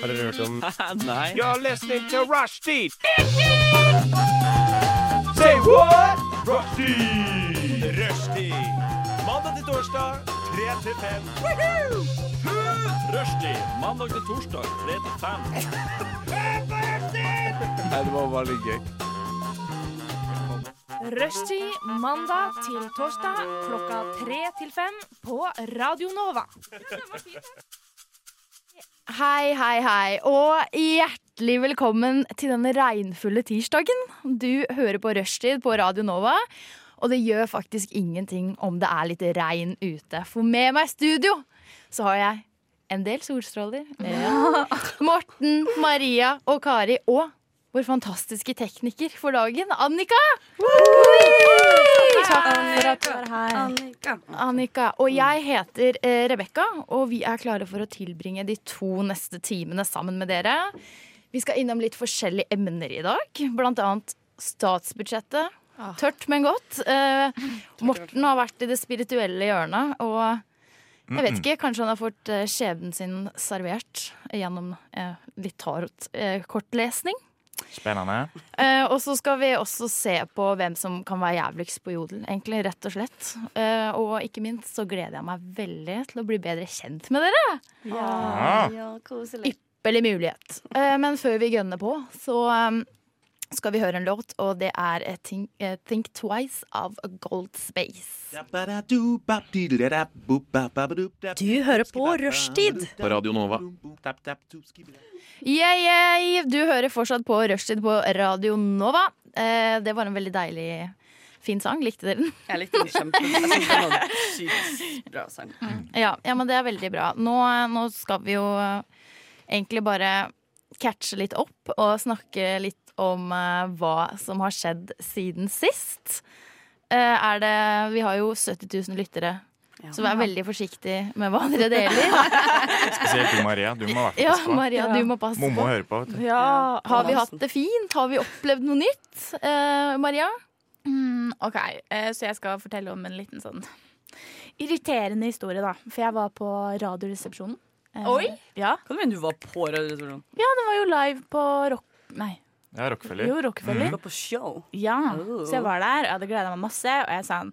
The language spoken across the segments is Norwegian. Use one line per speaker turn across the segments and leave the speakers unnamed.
Har dere hørt om
Nei.
You're listening to Rushdie. Say what? Rushdie. Rushdie. Mandag til torsdag, 3 til 5. Rushdie. Mandag til torsdag, 3 til 5.
Nei, det var bare litt gøy.
Rushtid mandag til torsdag klokka tre til fem på Radio Nova.
Hei, hei, hei, og hjertelig velkommen til denne regnfulle tirsdagen. Du hører på Rushtid på Radio Nova, og det gjør faktisk ingenting om det er litt regn ute. For med meg i studio så har jeg en del solstråler. Ja. Morten, Maria og Kari, og vår fantastiske tekniker for dagen, Annika. Takk for at Annika. Og jeg heter eh, Rebekka, og vi er klare for å tilbringe de to neste timene sammen med dere. Vi skal innom litt forskjellige emner i dag, blant annet statsbudsjettet. Ah. Tørt, men godt. Eh, Morten har vært i det spirituelle hjørnet, og jeg vet ikke, kanskje han har fått eh, skjebnen sin servert gjennom eh, litt eh, tarot-kortlesning.
Spennende.
Eh, og så skal vi også se på hvem som kan være jævligst på jodel, egentlig, rett og slett. Eh, og ikke minst så gleder jeg meg veldig til å bli bedre kjent med dere.
Ja.
Ypperlig mulighet. Eh, men før vi gønner på, så eh, skal vi høre en låt, og det er eh, Think, eh, Think Twice av Gold Space.
Du hører på Rushtid.
På Radio Nova.
Yeah, yeah. Du hører fortsatt på Rushtid på Radio Nova. Eh, det var en veldig deilig, fin sang. Likte dere den?
Jeg likte den kjempe Jeg synes det var en sykt bra sang.
Ja, ja, men det er veldig bra. Nå, nå skal vi jo eh, egentlig bare catche litt opp og snakke litt om eh, hva som har skjedd siden sist. Eh, er det, vi har jo 70 000 lyttere, så vær veldig forsiktig med hva dere deler.
Spesielt du, Maria. Du må i hvert
Ja,
fall passe på.
Maria, du må passe
Mommo
på.
hører på. vet du.
Ja,
Har vi hatt det fint? Har vi opplevd noe nytt? Eh, Maria?
Mm, OK, eh, så jeg skal fortelle om en liten sånn irriterende historie, da. For jeg var på Radioresepsjonen. Eh,
Oi!
Ja,
Hva mener du var på radioresepsjonen?
den var jo live på Rock... Nei,
Ja, Rockefeller.
jo, Rockefeller.
Du var på show.
Ja,
Oh.
så jeg var der, og jeg hadde gleda meg masse. Og jeg sa han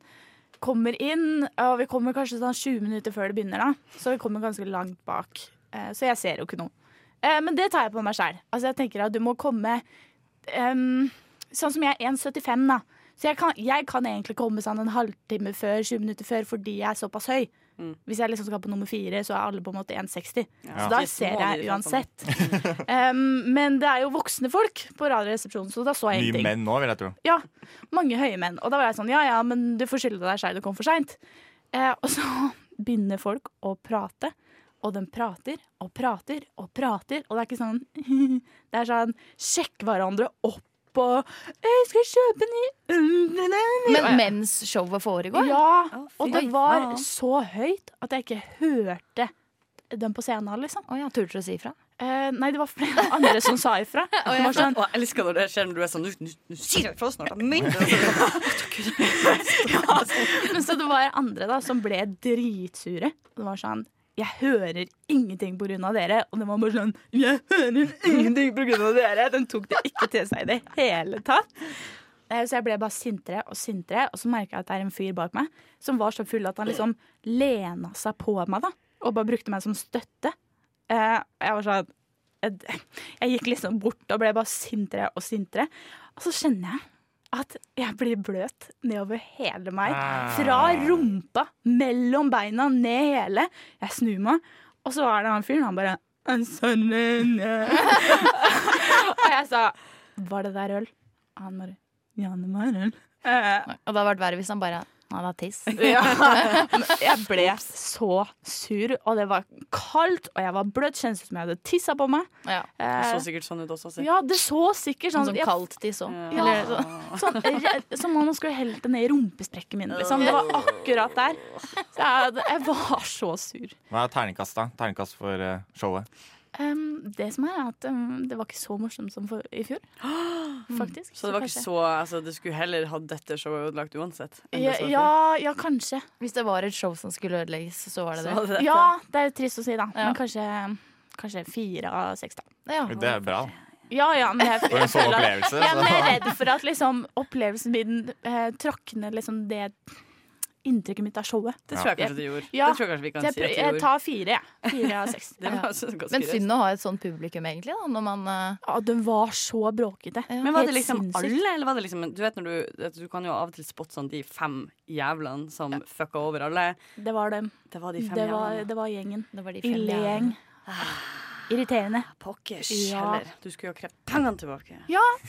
kommer inn, og vi kommer kanskje sånn 20 minutter før det begynner, da. Så vi kommer ganske langt bak. Eh, Så jeg ser jo ikke noe. Eh, Men det tar jeg på meg sjæl. Altså, jeg tenker at du må komme em, Sånn som jeg er 1,75, da. Så jeg kan, jeg kan egentlig komme sånn en halvtime før, 20 minutter før, fordi jeg er såpass høy. Hvis jeg liksom skal på nummer fire, så er alle på en måte 1,60. Så da
De er
ser
små, de
jeg
er sånn.
uansett. Em, men det er jo voksne folk på Radioresepsjonen, så da så jeg
Mye
ingenting.
menn nå, vil jeg tro.
Ja, mange høye menn. Og da var jeg sånn, ja ja, men du får skylde deg selv, du kom for seint. Eh, og så begynner folk å prate, og de prater og prater og prater. Og det er ikke sånn Det er sånn sjekk hverandre opp og «Jeg skal kjøpe ny
Men mens showet foregår?
Ja.
Å, fy
Og det var
faen.
så høyt at jeg ikke hørte dem på scenen, liksom.
Å ja, turte du å si ifra?
Eh, nei, det var flere andre som sa ifra. Det var sånn,
Og jeg elsker når det skjer når du er sånn Nå nå- nå sier jeg fra snart! Jeg mener det!
Men så det var andre da som ble dritsure. Det var sånn Jeg hører ingenting på grunn av dere. Og det var bare sånn Jeg hører ingenting på grunn av dere! Den tok det ikke til seg i det hele tatt. Eh, Så jeg ble bare sintere og sintere, og så merka jeg at det er en fyr bak meg som var så full at han liksom lena seg på meg, da. Og bare brukte meg som støtte. Eh, Jeg var sånn Jeg jeg gikk liksom bort og ble bare sintere og sintere. Og så kjenner jeg at jeg blir bløt nedover hele meg. Fra rumpa, mellom beina, ned hele. Jeg snur meg, og så er det han fyren. Han bare «I'm sorry, no». Og jeg sa Var det der øl? Og han bare Ja, det var øl. Eh,
Og det hadde vært verre hvis han bare Nei, det er tiss.
jeg ble så sur, og det var kaldt, og jeg var bløt. Kjennes ut som jeg hadde tissa på meg.
Ja.
Det
Eh,
så sikkert sånn ut også. Si.
ja, det så sikkert
Sånn
sånn
som
jeg-
kaldt tiss òg.
Ja.
Eller sånn.
Sånn, re- som om han skulle helt det ned i rumpesprekken min. Liksom. Det var akkurat der. Så jeg, jeg var så sur.
Hva er terningkast, da? Terningkast for eh, showet.
Um, det som er, er at um, det var ikke så morsomt som for, i fjor. Faktisk.
Så det var ikke
kanskje-
så altså, Du skulle heller hatt dette showet ødelagt uansett. enn det
ja,
som var
ja, ja, kanskje.
Hvis det var et show som skulle ødelegges, så
før.
var det
Så
det.
var det dette.
Ja, det er jo trist å si, da.
Ja.
Men kanskje kanskje fire av seks, da.
Ja.
Det er bra.
Ja, ja, men jeg,
For en altså. sånn
føler at-
opplevelse.
jeg er mer
Så.
redd for at liksom, opplevelsen min eh, trakk ned liksom, det inntrykket mitt av showet.
Det tror jeg kanskje det gjorde.
Ja.
Det tror jeg kanskje vi kan
Så jeg,
si
prøv,
at det
jeg
gjorde.
tar fire, jeg. Fire av seks.
Det var altså ganske
Men
raust.
synd å ha et sånt publikum, egentlig, da, når man eh,
Ja, den var så bråkete.
Ja.
Men var
Helt
det liksom
sinnssykt.
alle, eller var det liksom Du vet når du at Du kan jo av og til spotte sånn de fem jævlene som fucka over alle.
Det var dem.
Det var de fem
Det var,
jævlene.
det var gjengen.
Det var de fem
Illegjeng. Irriterende.
Pokkers
Ja.
heller. Du skulle jo ha krevd pengene tilbake.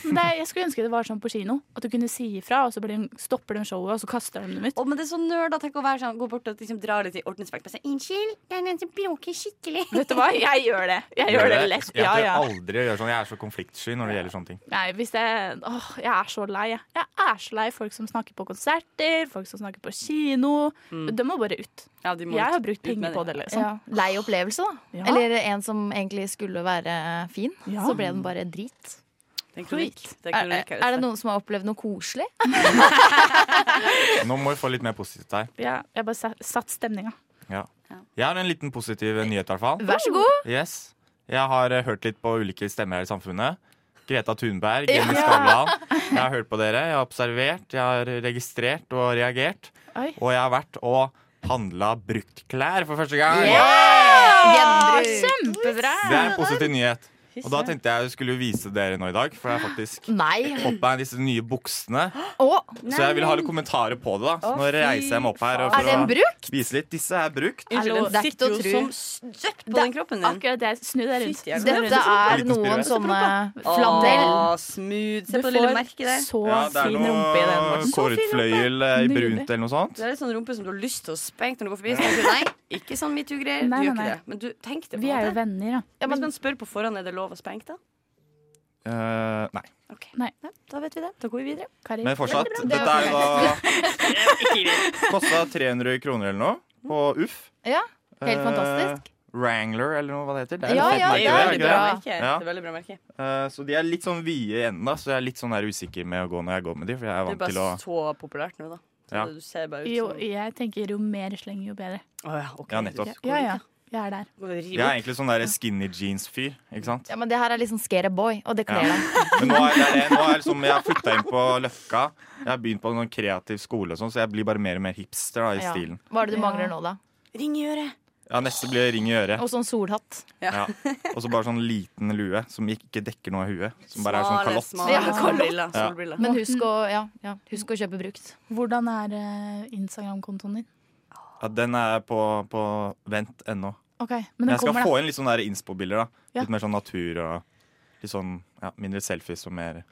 Men det, jeg skulle ønske det var sånn på kino. At du kunne si ifra, og så blir, stopper de showet, og så kaster de dem ut.
Å, men det er så nerd da, tenk å være sånn, gå bort og liksom dra litt i ordensvekt. Bare si 'unnskyld, det er en som bråker skikkelig'.
Vet du hva, jeg gjør det. Jeg
Gjør
gjør det
det.
lett.
Jeg
Ja,
tør
ja.
aldri å gjøre sånn. Jeg er så konfliktsky når det gjelder sånne ting.
Nei, hvis jeg, åh, jeg er så lei. Jeg. jeg er så lei folk som snakker på konserter, folk som snakker på kino. De må bare ut.
Ja, de Mm. må
Jeg
ut-
har brukt
ut med
penger på det,
Ja.
liksom.
Lei opplevelse, da.
Ja.
Eller en som egentlig skulle være eh, fin.
Ja.
Så ble den bare drit.
Det er en kronikk. Det er,
Er,
en kronikk her,
er det noen som har opplevd noe koselig?
Nå må vi få litt mer positivt her.
Ja, jeg bare sa- satt stemninga.
Ja. Jeg har en liten positiv nyhet, i hvert fall.
Vær så god.
Yes. Jeg har eh, hørt litt på ulike stemmer her i samfunnet. Greta Thunberg, Jenny Skavlan. Jeg har hørt på dere, jeg har observert, jeg har registrert og reagert.
Oi.
Og jeg har vært og handla bruktklær for første gang.
Ah,
Gjenbruk.
Kjempebra!
Det er en positiv nyhet. Og da tenkte jeg jeg skulle vise dere nå i dag, for jeg har faktisk
Nei.
fått meg disse nye buksene.
Å,
Så jeg vil ha litt kommentarer på det. da Så nå reiser jeg meg opp her og
er den
for
brukt?
å vise litt. Disse er brukt.
Unnskyld,
Hallo, det
den
er ikke til
sitter
å
jo
tro.
som støpt på den kroppen din.
Akkurat det. Snu deg rundt.
Fytti jævla.
Snu deg
Dette er
Liten spiral.
noen sånne flanell.
Å, smooth. Se på det
rundt. Du
lille
får
merket der.
så
Ja, det er
fin rumpe i den.
noe
Morten.
kårutfløyel eh, i
Nydelig.
brunt eller noe sånt.
Det er litt sånn rumpe som du har lyst til å spenke når du går forbi. Så tenker du, nei, ikke sånn metoo-greier. Du
Nei,
gjør ikke
nei, nei.
det. Men du, tenk det på
Vi er
en
jo
måte.
venner, da.
Hvis man spør på forhånd er det lov å spenke, da?
Eh, nei.
Ok,
Nei.
Da vet vi det. Da går vi videre.
Kari.
Men fortsatt,
Det
dette
var
er jo da Kosta 300 kroner eller noe på Uff.
Ja, helt
Eh,
fantastisk.
Wrangler eller noe hva det heter. Det er
Ja,
et
ja,
fett merke,
det er
det,
bra.
ikke det?
merke.
Ja.
Det er veldig bra merke.
Eh, Så de er litt sånn vide i enden, da, så jeg er litt sånn der usikker med å gå når jeg går med de. For jeg er
Det er
vant til å
bare så populært nå, da. Så
Ja.
Du ser bare ut
Jo,
som
jeg tenker jo mer sleng, jo bedre.
Å ja, ok.
Ja, nettopp.
Ja, ja. Jeg er der.
Går det
Jeg er
rimelig?
egentlig sånn der skinny jeans-fyr, ikke sant.
Ja, men det her er liksom Scare Boy, og det kler
Ja.
deg.
Men nå er det, det- nå er liksom, jeg flytta inn på Løkka. Jeg har begynt på noen kreativ skole og sånn, så jeg blir bare mer og mer hipster da, i
Ja.
stilen.
Hva er det du
Ja.
mangler nå, da?
Ring i øret.
Ja, neste blir ring i øret.
Og sånn solhatt.
Ja. Og så bare sånn liten lue som ikke dekker noe av huet. Som bare er sånn kalott.
Smale,
Ja,
smale solbriller. solbriller.
Men husk å, ja, ja, husk å kjøpe brukt.
Hvordan er eh, Instagram-kontoen din?
Ja, den er på, på vent ennå.
Ok, men
Men
den
jeg skal
kommer,
få
da.
inn litt sånn der innspo-bilder. da
Ja.
Litt mer sånn natur og litt sånn, ja, mindre selfies og mer,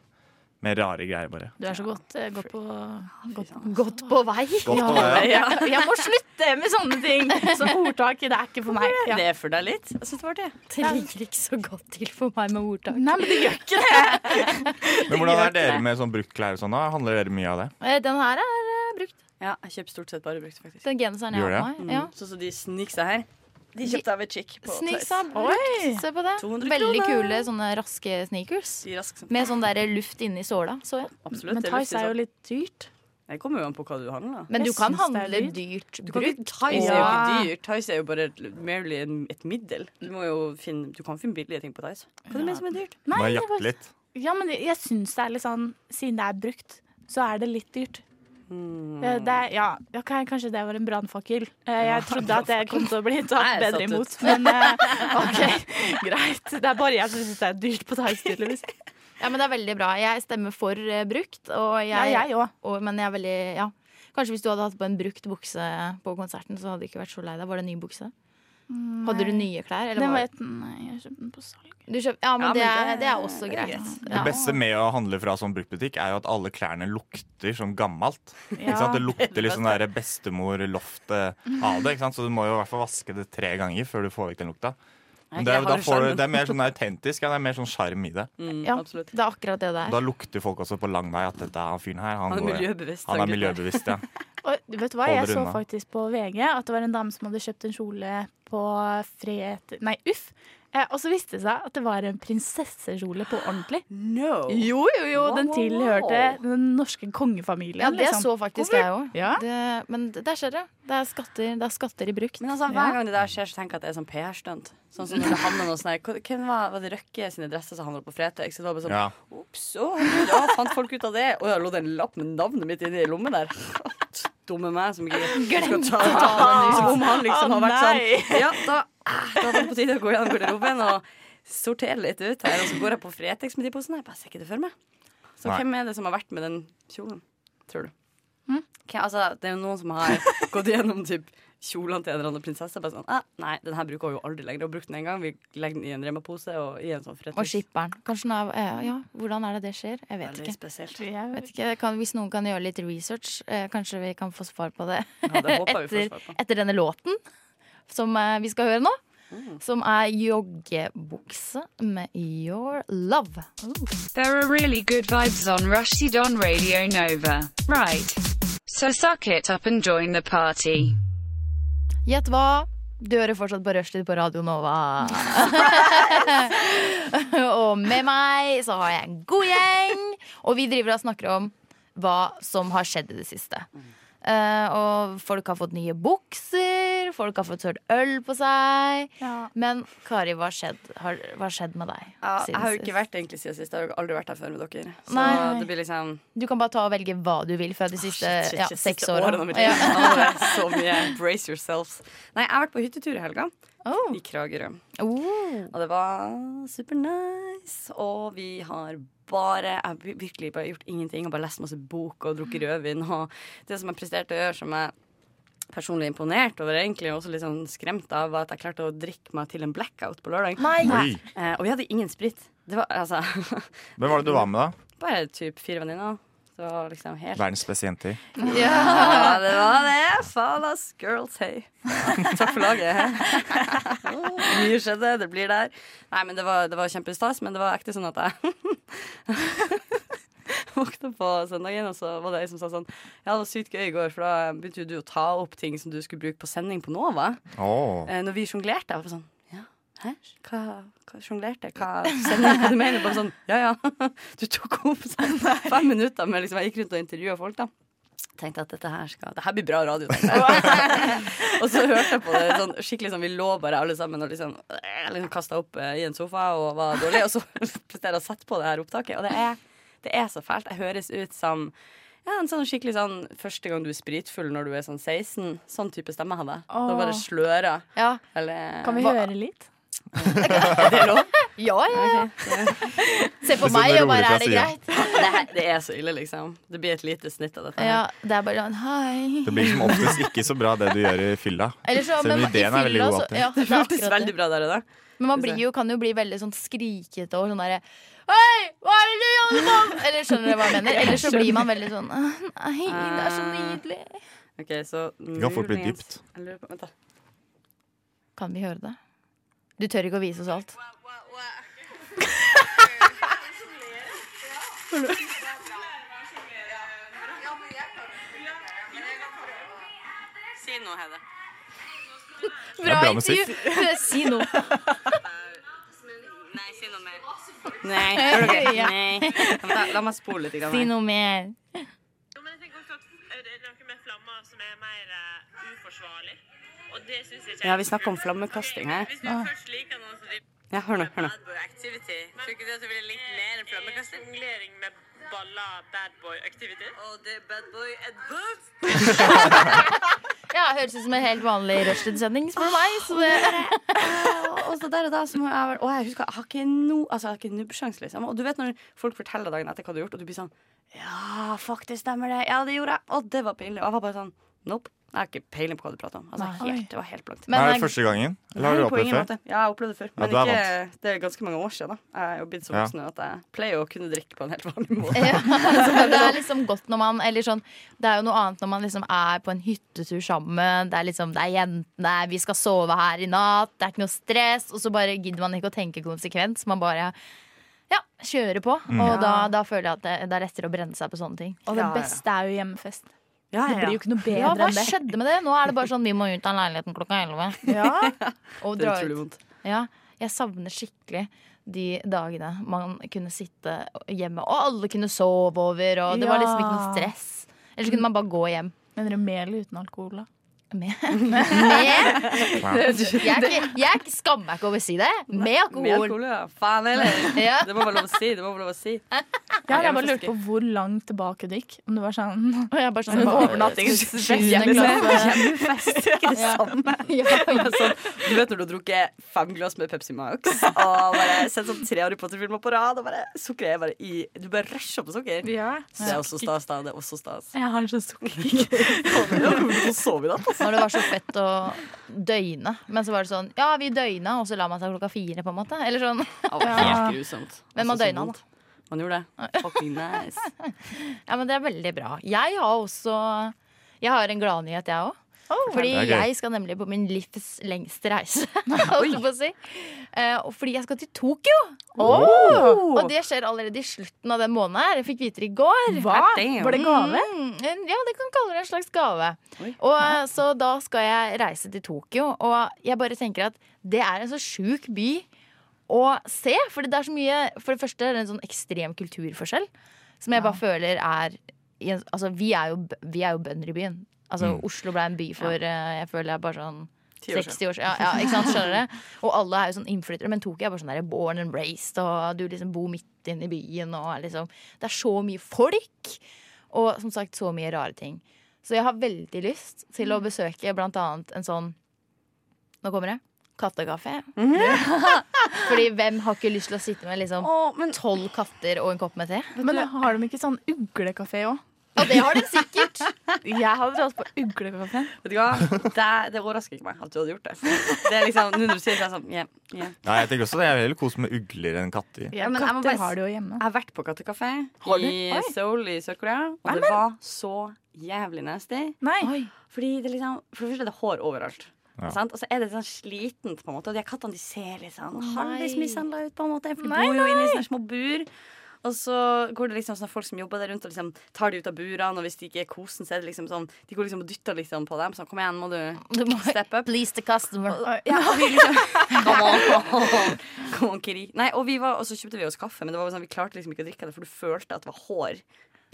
mer rare greier, bare.
Du er så godt, eh, godt på godt.
Godt på vei.
Godt
Ja,
å være.
ja. Jeg må slutte med sånne ting! Sånn ordtak, det er ikke for meg. Ja.
Det er for deg litt. Jeg synes det var artig.
Det ligger ikke så godt til for meg med ordtak.
Nei, men det gjør ikke
Men hvordan er dere med sånn brukt klær og sånn? da? Handler dere mye av det?
Eh, Den her er eh, brukt.
Ja, jeg kjøper stort sett bare brukt, faktisk.
Den genseren jeg
Gjør
har på
Mm.
meg. Ja.
Sånn som de sneaksa her. De kjøpte av et chick på
Sneaks er
Oi.
brukt. Se på det.
200
Veldig
kroner.
kule sånne raske sneakers.
De rask som
Med sånn der luft inni såla, så jeg.
Absolutt.
Men
det
Tice
luftig
er jo
sånn.
litt dyrt.
Det kommer jo an på hva du handler.
Men du
Jeg
kan
syns det er
handle
dyrt.
dyrt
Du kan
brukt.
ikke, Tice er jo
Ja.
ikke dyr. Tice er jo bare et- merely en- et middel. Du, må jo finne, du kan finne billige ting på Tice. Hva er det med som er dyrt?
Må
Nei,
jeg
det
jakte
var,
litt?
ja, men jeg syns det er litt sånn Siden det er brukt, så er det litt dyrt. Eh, Det er, ja, ok, kanskje det var en brannfakkel. Eh, Jeg trodde at jeg kom til å bli
Nei,
tatt
jeg
bedre
satt
imot, men eh, OK, greit. Det er bare jeg som syns det er dyrt på Tice, tydeligvis.
Ja, men det er veldig bra. Jeg stemmer for eh, brukt, og
Ja,
jeg
jeg òg.
Og, men jeg er veldig, ja Kanskje hvis du hadde hatt på en brukt bukse på konserten, så hadde du ikke vært så lei deg. Var det ny bukse? Hadde du nye klær? Eller
Den
var,
vet Nei, jeg kjøpte den på salg.
du kjøpt, ja, men,
Ja, men
det, er,
det-
det er også
det er
greit.
greit.
Ja.
Det beste med å handle fra sånn bruktbutikk er jo at alle klærne lukter sånn gammelt. Ikke sant? Det lukter litt sånn der bestemor-loftet av det. Ikke sant? Så du må jo i hvert fall vaske det tre ganger før du får vekk den lukta. Men det,
jeg
er- da
har
får du,
skjermen.
det er mer sånn autentisk. Ja, det er mer sånn sjarm i det.
Mm,
Ja.
Absolutt.
Det er akkurat det det
Da
er.
lukter folk også på lang vei at dette er han fyren her. Han,
Han er
går-
miljøbevisst.
han er
gutten.
miljøbevisst, ja.
Og vet du hva,
Holder
jeg så
unna.
faktisk på VG at det var en dame som hadde kjøpt en kjole på Fred... Nei, Uff. Eh, og så viste det seg at det var en prinsessekjole på ordentlig.
No!
Jo, jo, jo, den
Wow, wow,
tilhørte
wow.
den norske kongefamilien.
Ja, det
liksom.
så faktisk
Hvorfor?
jeg òg.
Ja.
Det- Men det- der skjer det. Det er skatter, det er skatter i brukt.
Men altså, hver gang det der skjer, så tenker jeg at det er sånn PR-stunt. Sånn som når det havner noe sånn her hva- Hvem var, var det Røkke sine dresser som havnet på Fretex? Så det var bare sånn
Ja.
Ops! Å, herregud, ja, fant folk ut av det? Å ja, lå det en lapp med navnet mitt inni lommen der? Dumme meg som ikke skal ta Som om han liksom har vært sånn Ja, da, ah, da var det på tide å gå gjennom garderoben og sortere litt ut her. Og så går jeg på Fretex med de posene. Jeg bare ser ikke det for meg. Så
Nei.
hvem er det som har vært med den kjolen, tror du?
Hm?
Hvem- altså, det er jo noen som har gått gjennom typ kjolene til en eller annen prinsesse. Bare sånn, ah, nei, den her bruker hun jo aldri lenger. Hun brukte den en gang. Vi legger den i en Rema-pose og i en sånn Fretex.
Og skipperen. Kanskje den er, eh, ja, hvordan er det det skjer? Jeg vet
Veldig
ikke.
spesielt.
Jeg
Vet ikke. Kan, hvis noen kan gjøre litt research, eh, kanskje vi kan få svar på det
Ja, det håper jeg vi får
etter,
svar på.
etter denne låten som eh, vi skal høre nå. Som er joggebukse med Your Love.
There are really good vibes on Rushdie Don Radio Nova. Right. So suck it up and join the party.
Gjett hva? Du hører fortsatt på Rushtid på Radio Nova. og med meg så har jeg en god gjeng. Og vi driver og snakker om hva som har skjedd i det siste. Eh, og folk har fått nye bukser, folk har fått sølt øl på seg.
Ja.
Men Kari, hva har skjedd, har, hva har skjedd med deg?
Ja,
siden
jeg har jo
sist?
ikke vært egentlig siden sist. Jeg har jo aldri vært her før med dere. Så
Nei.
det blir liksom
Du kan bare ta og velge hva du vil fra de siste
Ah, Shit, shit,
ja,
shit,
seks
siste årene av
årene.
mitt liv. Nå er det Så mye. Brace yourselves. Nei, jeg har vært på hyttetur i helga
Oh.
i Kragerø.
Oh.
Og det var super nice. Og vi har bare Jeg har vir- virkelig bare gjort ingenting og bare lest masse bok og drukket rødvin. Og det som jeg presterte å gjøre, som jeg personlig imponert over, egentlig, og også litt sånn skremt av, var at jeg klarte å drikke meg til en blackout på lørdag.
Oi.
Eh, og vi hadde ingen sprit. Det var altså
Hvem var det du var med, da?
Bare typ fire venninner. Så det var liksom helt
Verdens beste jenter.
Ja, det var det. Falas girls, hey. Takk for laget. Mye skjedde, det blir der. Nei, men det var, det var kjempestas, men det var ekte sånn at jeg våkna på søndagen, og så var det ei som sa sånn Ja, det var sykt gøy i går, for da begynte jo du å ta opp ting som du skulle bruke på sending på Nova.
Åh.
Eh, når vi sjonglerte, jeg var sånn ja, Hæ? Hva, hva sjonglerte? Hva sender du? Hva du mener? Bare sånn, ja ja. Du tok opp sånn fem minutter med liksom, Jeg gikk rundt og intervjua folk, da. Tenkte at dette her skal Det her blir bra radio. tenkte jeg. og så hørte jeg på det sånn skikkelig sånn Vi lå bare alle sammen og liksom, eh, liksom kasta opp eh, i en sofa og var dårlig. Og så presterer jeg å sette på det her opptaket, og det er, det er så fælt. Jeg høres ut som ja, en sånn skikkelig sånn første gang du er spritfull når du er sånn 16. Sånn type stemme hadde jeg. Da bare sløra.
Ja.
Eller
Kan vi
Hva-
høre litt?
Ja, ja, ja. Se på
Litt sånn
meg og
rolig
bare
fra
er det
siden.
greit?
det, her- det er så ille, liksom. Det blir et lite snitt av dette. her.
Ja, det er bare sånn hei.
Det blir som oftest ikke så bra det du gjør i fylla.
Eller så,
Selv om
men i
ideen er veldig
fylla
god
så-
alltid.
ja,
Det
er
føltes
akkurat
veldig bra der og da.
Men man blir jo, kan jo bli veldig sånn skrikete og sånn derre Hei, hva er det du gjør nå? Eller skjønner dere hva jeg Ah. mener? Eller så blir man veldig sånn «Åh, Nei, det er så nydelig.
Ok, så
kan fort bli
muligens-
dypt.
Jeg lurer på, vent da.
Kan vi høre det? Du tør ikke å vise oss alt.
Si noe, Hede.
Bra,
bra
intervju! Si noe.
Nei, si noe mer. Nei, gjør dere?
Ja.
Nei. Vent da, La meg spole litt. i gang
Si
her.
noe mer.
Jo, men jeg tenker også at det er noe med flammer som er mer eh, uforsvarlig. Og det synes jeg ikke
Ja, vi snakker om flammekasting her.
Hvis du
Ah.
først liker noen som driver
Ja, hør nå. hør nå.
Badboy activity, tror ikke du at du ville likt mer enn flammekasting? Jonglering med baller badboy activity. Og det er badboy advanced.
Ja, høres ut som en helt vanlig rushtid-sending, spør du meg. Så det,
Og så der og da så må jeg være Og jeg husker, jeg har ikke no, altså, jeg har ikke nubbsjans, liksom. Og du vet når folk forteller dagen etter hva du har gjort, og du blir sånn Ja, fuck, det stemmer det. Ja, det gjorde jeg. Og det var pinlig. Og jeg var bare sånn Nope. Jeg har ikke peiling på hva du prater om. Altså,
Nei.
helt, det var helt blankt.
men
er det
jeg-
første gangen? Eller har
Nei,
du
på
opplevd
ingen
det før?
måte. Ja, jeg har opplevd det før.
Ja,
Men
du er
ikke, det er ganske mange år siden. Da. Jeg er jo blitt så
Ja.
voksen nå at jeg pleier å kunne drikke på en helt vanlig måte.
Ja, så det er liksom godt når man Eller sånn, det er jo noe annet når man liksom er på en hyttetur sammen. Det er liksom, det er jentene, vi skal sove her i natt, det er ikke noe stress. Og så bare gidder man ikke å tenke konsekvens. Man bare ja,
Mm.
kjører på. Og da, da føler jeg at det, det er lettere å brenne seg på sånne ting.
Og
Ja,
det
ja.
beste er jo hjemmefest.
Ja,
Det
ja, ja.
blir jo ikke noe bedre
Ja, hva
enn det.
skjedde med det? Nå er det bare sånn vi må ut av leiligheten klokka 11.
Ja.
Og
Det er
dra
utrolig
ut. Ja, jeg savner skikkelig de dagene man kunne sitte hjemme, og alle kunne sove over, og det var
Ja.
liksom ikke noe stress. Eller så kunne man bare gå hjem.
Mener du mel uten alkohol, da?
Med?
Med?
Jeg, jeg skammer meg ikke over å si det. Med alkohol.
Med alkohol, ja. Faen heller.
Ja.
Det må være lov å si. Det må være lov å si.
Ja, jeg bare lurte på hvor langt tilbake du gikk. Om du var sånn Og jeg bare sånn
Det var
Overnattingsfest. sånn-
Hjemmefest, ikke det
Ja.
samme. Men Sånn, du vet når du har drukket fem glass med Pepsi Max og bare sett sånn tre Harry Potter-filmer på rad, og bare sukkeret er bare i Du bare rusher på sukker.
Ja.
Så det er også stas, da. Det er også stas.
Jeg har så sukker.
Hvorfor sov vi da?
Når det var så fett å døgne. Men så var det sånn Ja, vi døgna, og så la man seg klokka fire, på en måte. Eller sånn.
Helt grusomt.
Men man
Altså, så
døgna,
vondt. Man gjorde det. Fucking nice.
Ja, men det er veldig bra. Jeg har også Jeg har en gladnyhet, jeg òg. Fordi
Det er gøy.
jeg skal nemlig på min livs lengste reise. holdt jeg på å si. Eh, og fordi jeg skal til Tokyo!
Oh.
Og det skjer allerede i slutten av den måneden. her Jeg fikk vite det i går.
Hva? Damn. Var det gave?
Mm, en- ja, det kan kalle det en slags gave. Og eh, Så da skal jeg reise til Tokyo, og jeg bare tenker at det er en så sjuk by å se. Fordi det er så mye For det første er det en sånn ekstrem kulturforskjell som jeg bare føler er i en- Altså, vi er jo, b- vi er jo bønder i byen. Altså,
Mm.
Oslo ble en by for eh, Jeg føler jeg er bare sånn
Ti år siden.
60 år siden. Ja, ja, ikke sant, skjønner du? Og alle er jo sånn innflyttere, men Tokyo er bare sånn der born and raised, og du liksom bor midt inne i byen, og er liksom Det er så mye folk, og som sagt så mye rare ting. Så jeg har veldig lyst til å besøke blant annet en sånn Nå kommer det. Kattekafé. Fordi hvem har ikke lyst til å sitte med liksom tolv katter og en kopp med te?
Men har de ikke sånn uglekafé òg?
Ja, det har de sikkert.
Jeg hadde dratt på uglekafé.
Vet du hva? Det, det overrasker ikke meg at du hadde gjort det. Det er liksom, Nå når du sier det, så er jeg sånn yeah, yeah.
Nei, jeg tenker også det. Jeg vil heller kose med ugler enn katter.
Ja, men jeg må bare- Jeg har vært på kattekafé
Har du?
i
Oi.
Seoul i Sør-Korea, og
Nei, men-
det var så jævlig nasty. Fordi det liksom, for det første er det hår overalt.
Ja.
Sant? Og så er det sånn slitent, på en måte. Og de her kattene de ser litt sånn halvvis
Nei.
mishandla ut, på en måte. For de
Nei,
bor jo inne i
nei.
sånne små bur. Og så går det liksom sånne folk som jobber der rundt og liksom tar de ut av burene. Og hvis de ikke er kosen, så er det liksom sånn De går liksom og dytter liksom på dem. Sånn, kom igjen, må du step up.
Please the customer.
Ja, og vi liksom, come on, come on, come on, Kiri. Nei, og, vi var, og så kjøpte vi oss kaffe, men det var bare sånn, vi klarte liksom ikke å drikke det, for du følte at det var hår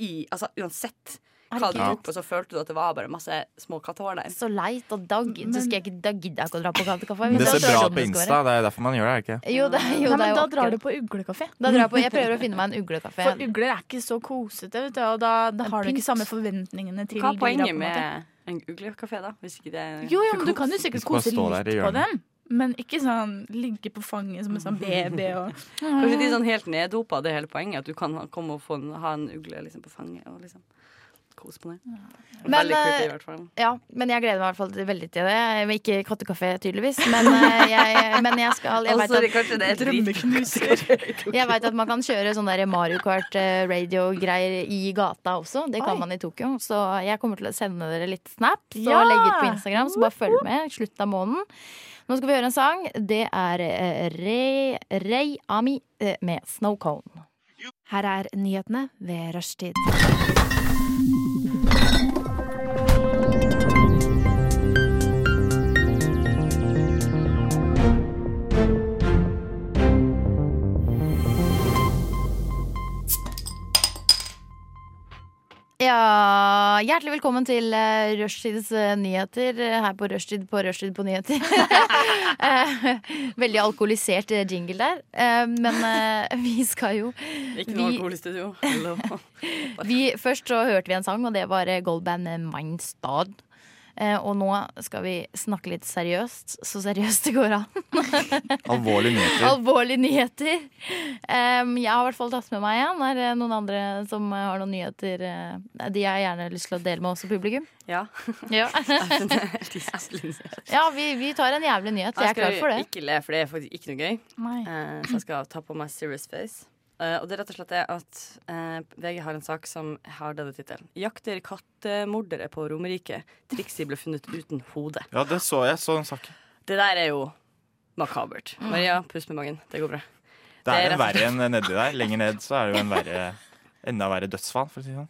i Altså uansett hva du
Herregud.
tok på, så følte du at det var bare masse små kattehår der.
Så leit og da gidder så skal jeg ikke, da gidder jeg ikke å dra på kattekaffe.
Det
Hvis
ser
det er
bra
sånn
på
det skal
Insta.
være.
Det er derfor man gjør det, er det ikke?
Jo, det, er- jo, det
Nei,
er
men
jo
da drar
akkurat-
du på uglekafé.
Da drar jeg på Jeg prøver å finne meg en uglekaffe.
For ugler er ikke så kosete, vet du, og da, da har du ikke samme forventningene til
Hva er
dyra, på en
poenget
måte.
med en uglekafé, da? Hvis ikke det er
Jo, jo, men du kan jo sikkert
Du skal bare
kose
stå der i
litt på
hjørnet.
dem. Men ikke sånn ligge på fanget som en sånn baby og
Kanskje de er sånn helt neddopa, det er hele poenget. At du kan ha- komme og få en, ha en ugle liksom, på fanget og liksom kose på den.
Men,
Veldig creepy, i
eh,
hvert fall.
ja, men jeg gleder meg i hvert fall til- veldig til det. Jeg vil Ikke kattekafé, tydeligvis, men eh, jeg, men jeg skal jeg vet
Altså,
at-
kanskje det er drømmeknuser.
Jeg veit at man kan kjøre sånn der Mario Kart-radio-greier i gata også. Det kan
Oi.
man i Tokyo. Så jeg kommer til å sende dere litt snaps
Ja!
og legge ut på Instagram, så bare følg med. Slutt av måneden. Nå skal vi høre en sang. Det er eh, Rei, Rei Ami eh, med 'Snow Cone'.
Her er nyhetene ved rushtid.
Ja, hjertelig velkommen til eh, Rushtids eh, nyheter eh, her på Rushtid på Rushtid på nyheter. Eh, Veldig alkoholisert eh, jingle der. Eh, Men eh, vi skal jo
Ikke noe
vi-
alkohol i studio. Hello.
vi, først så hørte vi en sang, og det var eh, goldband med Mindstad. Eh, og nå skal vi snakke litt seriøst, så seriøst det går an.
Alvorlige nyheter.
Alvorlige nyheter. Em, jeg har i hvert fall tatt med meg en. Er det noen andre som eh, har noen nyheter eh, de jeg gjerne har lyst til å dele med oss og publikum?
Ja.
Ja, ja vi, vi tar en jævlig nyhet. Jeg er klar for det.
ikke le, for det er faktisk ikke noe gøy.
Nei.
Eh, så jeg skal ta på meg serious face. Eh, og det er rett og slett det at eh, VG har en sak som har denne tittelen. 'Jakter kattemordere på Romerike'. Trixie ble funnet uten hode.
Ja, det så jeg. Så en sak.
Det der er jo makabert. Maria, pust med magen. Det går bra.
Det er en
rett og
verre
slett-
enn nedi der. Lenger ned så er det jo en verre Enda verre dødsfall, for å si det sånn.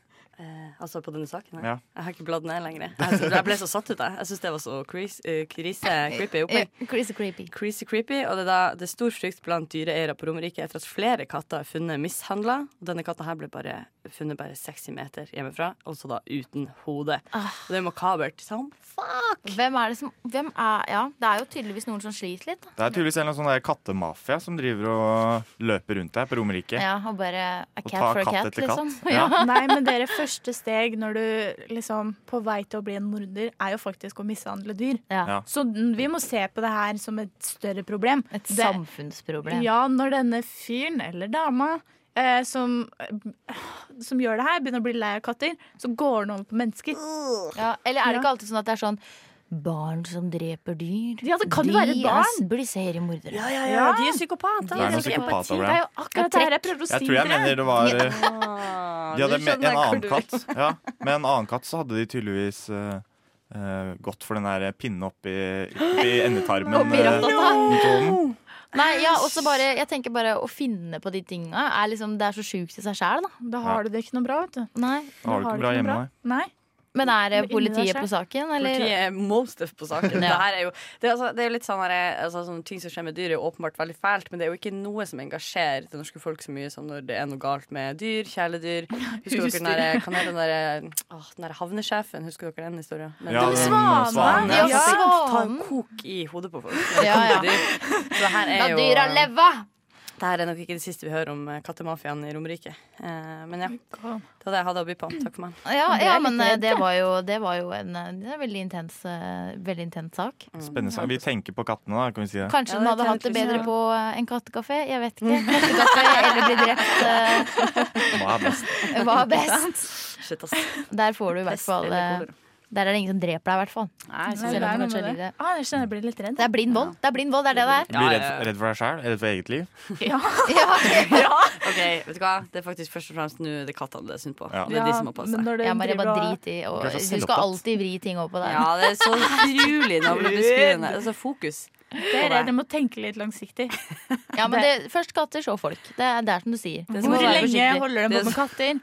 Altså på denne saken? her?
Ja.
Jeg har ikke bladd ned lenger. Jeg, synes- jeg ble så satt ut, jeg. Jeg syns det var så crease, eh, krise, creepy. opplegg.
Eh, Crazy creepy.
Creasy creepy, og det er, da, det er stor frykt blant dyreeiere på Romerike etter at flere katter er funnet mishandla. Denne katta her ble bare, funnet bare 60 meter hjemmefra, også da uten hode.
Ah.
Og Det er makabert. Sånn. Som fuck!
Hvem er det som hvem er, Ja, det er jo tydeligvis noen som sliter litt. da.
Det er tydeligvis en eller annen sånn der kattemafia som driver og løper rundt her på Romerike.
Ja, og bare a
Og
cat
ta
for a
katt
cat,
etter katt.
liksom.
Ja.
Nei, men dere, første steg når du liksom på vei til å bli en morder, er jo faktisk å mishandle dyr.
Ja.
Så n- vi må se på det her som et større problem.
Et
Det-
samfunnsproblem.
Ja, når denne fyren eller dama eh, som, eh, som gjør det her, begynner å bli lei av katter, så går den over på mennesker.
Ja, eller er det ikke alltid sånn at det er sånn Barn som dreper dyr.
Ja, det kan
de
jo være et barn.
er- blir seriemordere.
Ja, ja, ja, de er psykopater.
Det er noen psykopater over det.
Det er jo
akkurat det her jeg prøver å si
Jeg tror jeg
dere.
mener det var
Ja.
eh, De hadde med
nå skjønner jeg
en
hvor
annen
Ah, du vil.
katt. Ja, med en annen katt så hadde de tydeligvis eh, eh, gått for den der pinnen oppi, oppi endetarmen.
Oppi
eh,
rattata.
rundt hånden.
Nei, ja, og så bare Jeg tenker bare å finne på de tinga er liksom Det er så sjukt i seg sjæl, da.
Da har du det ikke noe bra, vet du.
Nei.
Da har du ikke bra hjemme, nei.
Nei.
Men er eh,
Men inni
politiet
deg selv.
på saken, eller?
Politiet er most of på saken.
Ja.
det, her er jo, det, er altså, det er jo litt sånn her, altså, sånn Ting som skjer med dyr, er jo åpenbart veldig fælt, men det er jo ikke noe som engasjerer det norske folk så mye som når det er noe galt med dyr, kjæledyr. Husker dere den der,
Husdyr.
kan jeg den der, åh, den der havnesjefen? Husker dere den historien? Men-
Ja, Den den svanen. svanen,
ja.
Ja,
svanen.
Ta en kok i hodet på folk.
Ja, ja.
Så det her er
La
jo
dyra leve!
Det her er nok ikke det siste vi hører om eh, kattemafiaen i Romerike. Eh, Men ja, det var det jeg hadde å by på. Takk for meg.
Ja,
Det er
ja
litt
men eh,
redd,
det
ja.
var jo, det var jo en eh, det er en veldig intens, eh, veldig intens sak.
Mm.
Spennende sak. Vi tenker på kattene, da, kan vi si det.
Kanskje
Ja,
den
det
hadde hatt det
tenkte vi
bedre
så.
på eh, en kattekafé? Jeg vet ikke. Kattekafé eller bli drept. eh,
Hva er best?
Hva er best?
Shit, ass.
Der får du i hvert fall
eller
eh, Der er det ingen som dreper deg, i hvert fall. Selv om du kanskje lider.
Ah, jeg kjenner jeg blir litt redd.
Det er blind vold. Det er blind vold, det er det det er.
Blir redd, redd for deg sjæl? Redd for eget liv?
Ok, vet du hva? Det er faktisk først og fremst nå det er kattene det er synd på.
Ja.
Det er de som må passe seg.
Ja, Maria, bare drit i og,
Du er så
Du skal
selvopptatt.
alltid vri ting over på deg.
Ja, det er så utrolig navlebeskuende. Det er så fokus.
Det er redd, jeg må tenke litt langsiktig.
Ja, men det, Først katter, så folk. Det er, det er som du sier.
Det som
Hvor
må være
lenge
forsiktig.
holder de
Det
på
som-
med katter?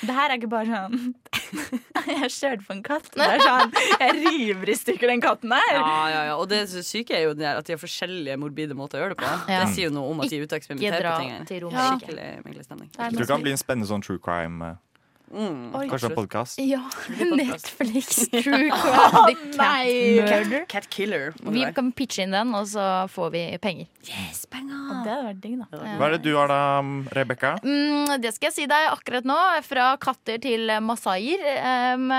Det her er ikke bare sånn Jeg kjørte på en katt. Det er sånn, Jeg river i stykker den katten her.
Ja, ja, ja. Og det syke er jo den der at de har forskjellige morbide måter å gjøre det på.
Ja.
Det sier jo noe om at de er ute og
Ikke
eksperimenterer
dra
på ting. her.
til
Ja.
Romerike.
Skikkelig mengelig stemning.
Det er
Jeg tror
noe
det kan bli en spennende sånn true crime.
Mm.
Oi.
Kanskje en podkast.
Ja, Netflix True
Å,
Crime. The Cat
nei.
Murder.
Cat killer. må
Vi
det være.
kan pitche inn den, og så får vi penger.
Yes, penger.
Det hadde vært digg, da.
Hva er det du har da, Rebekka?
Mm, det skal jeg si deg akkurat nå. Fra katter til masaier. Um,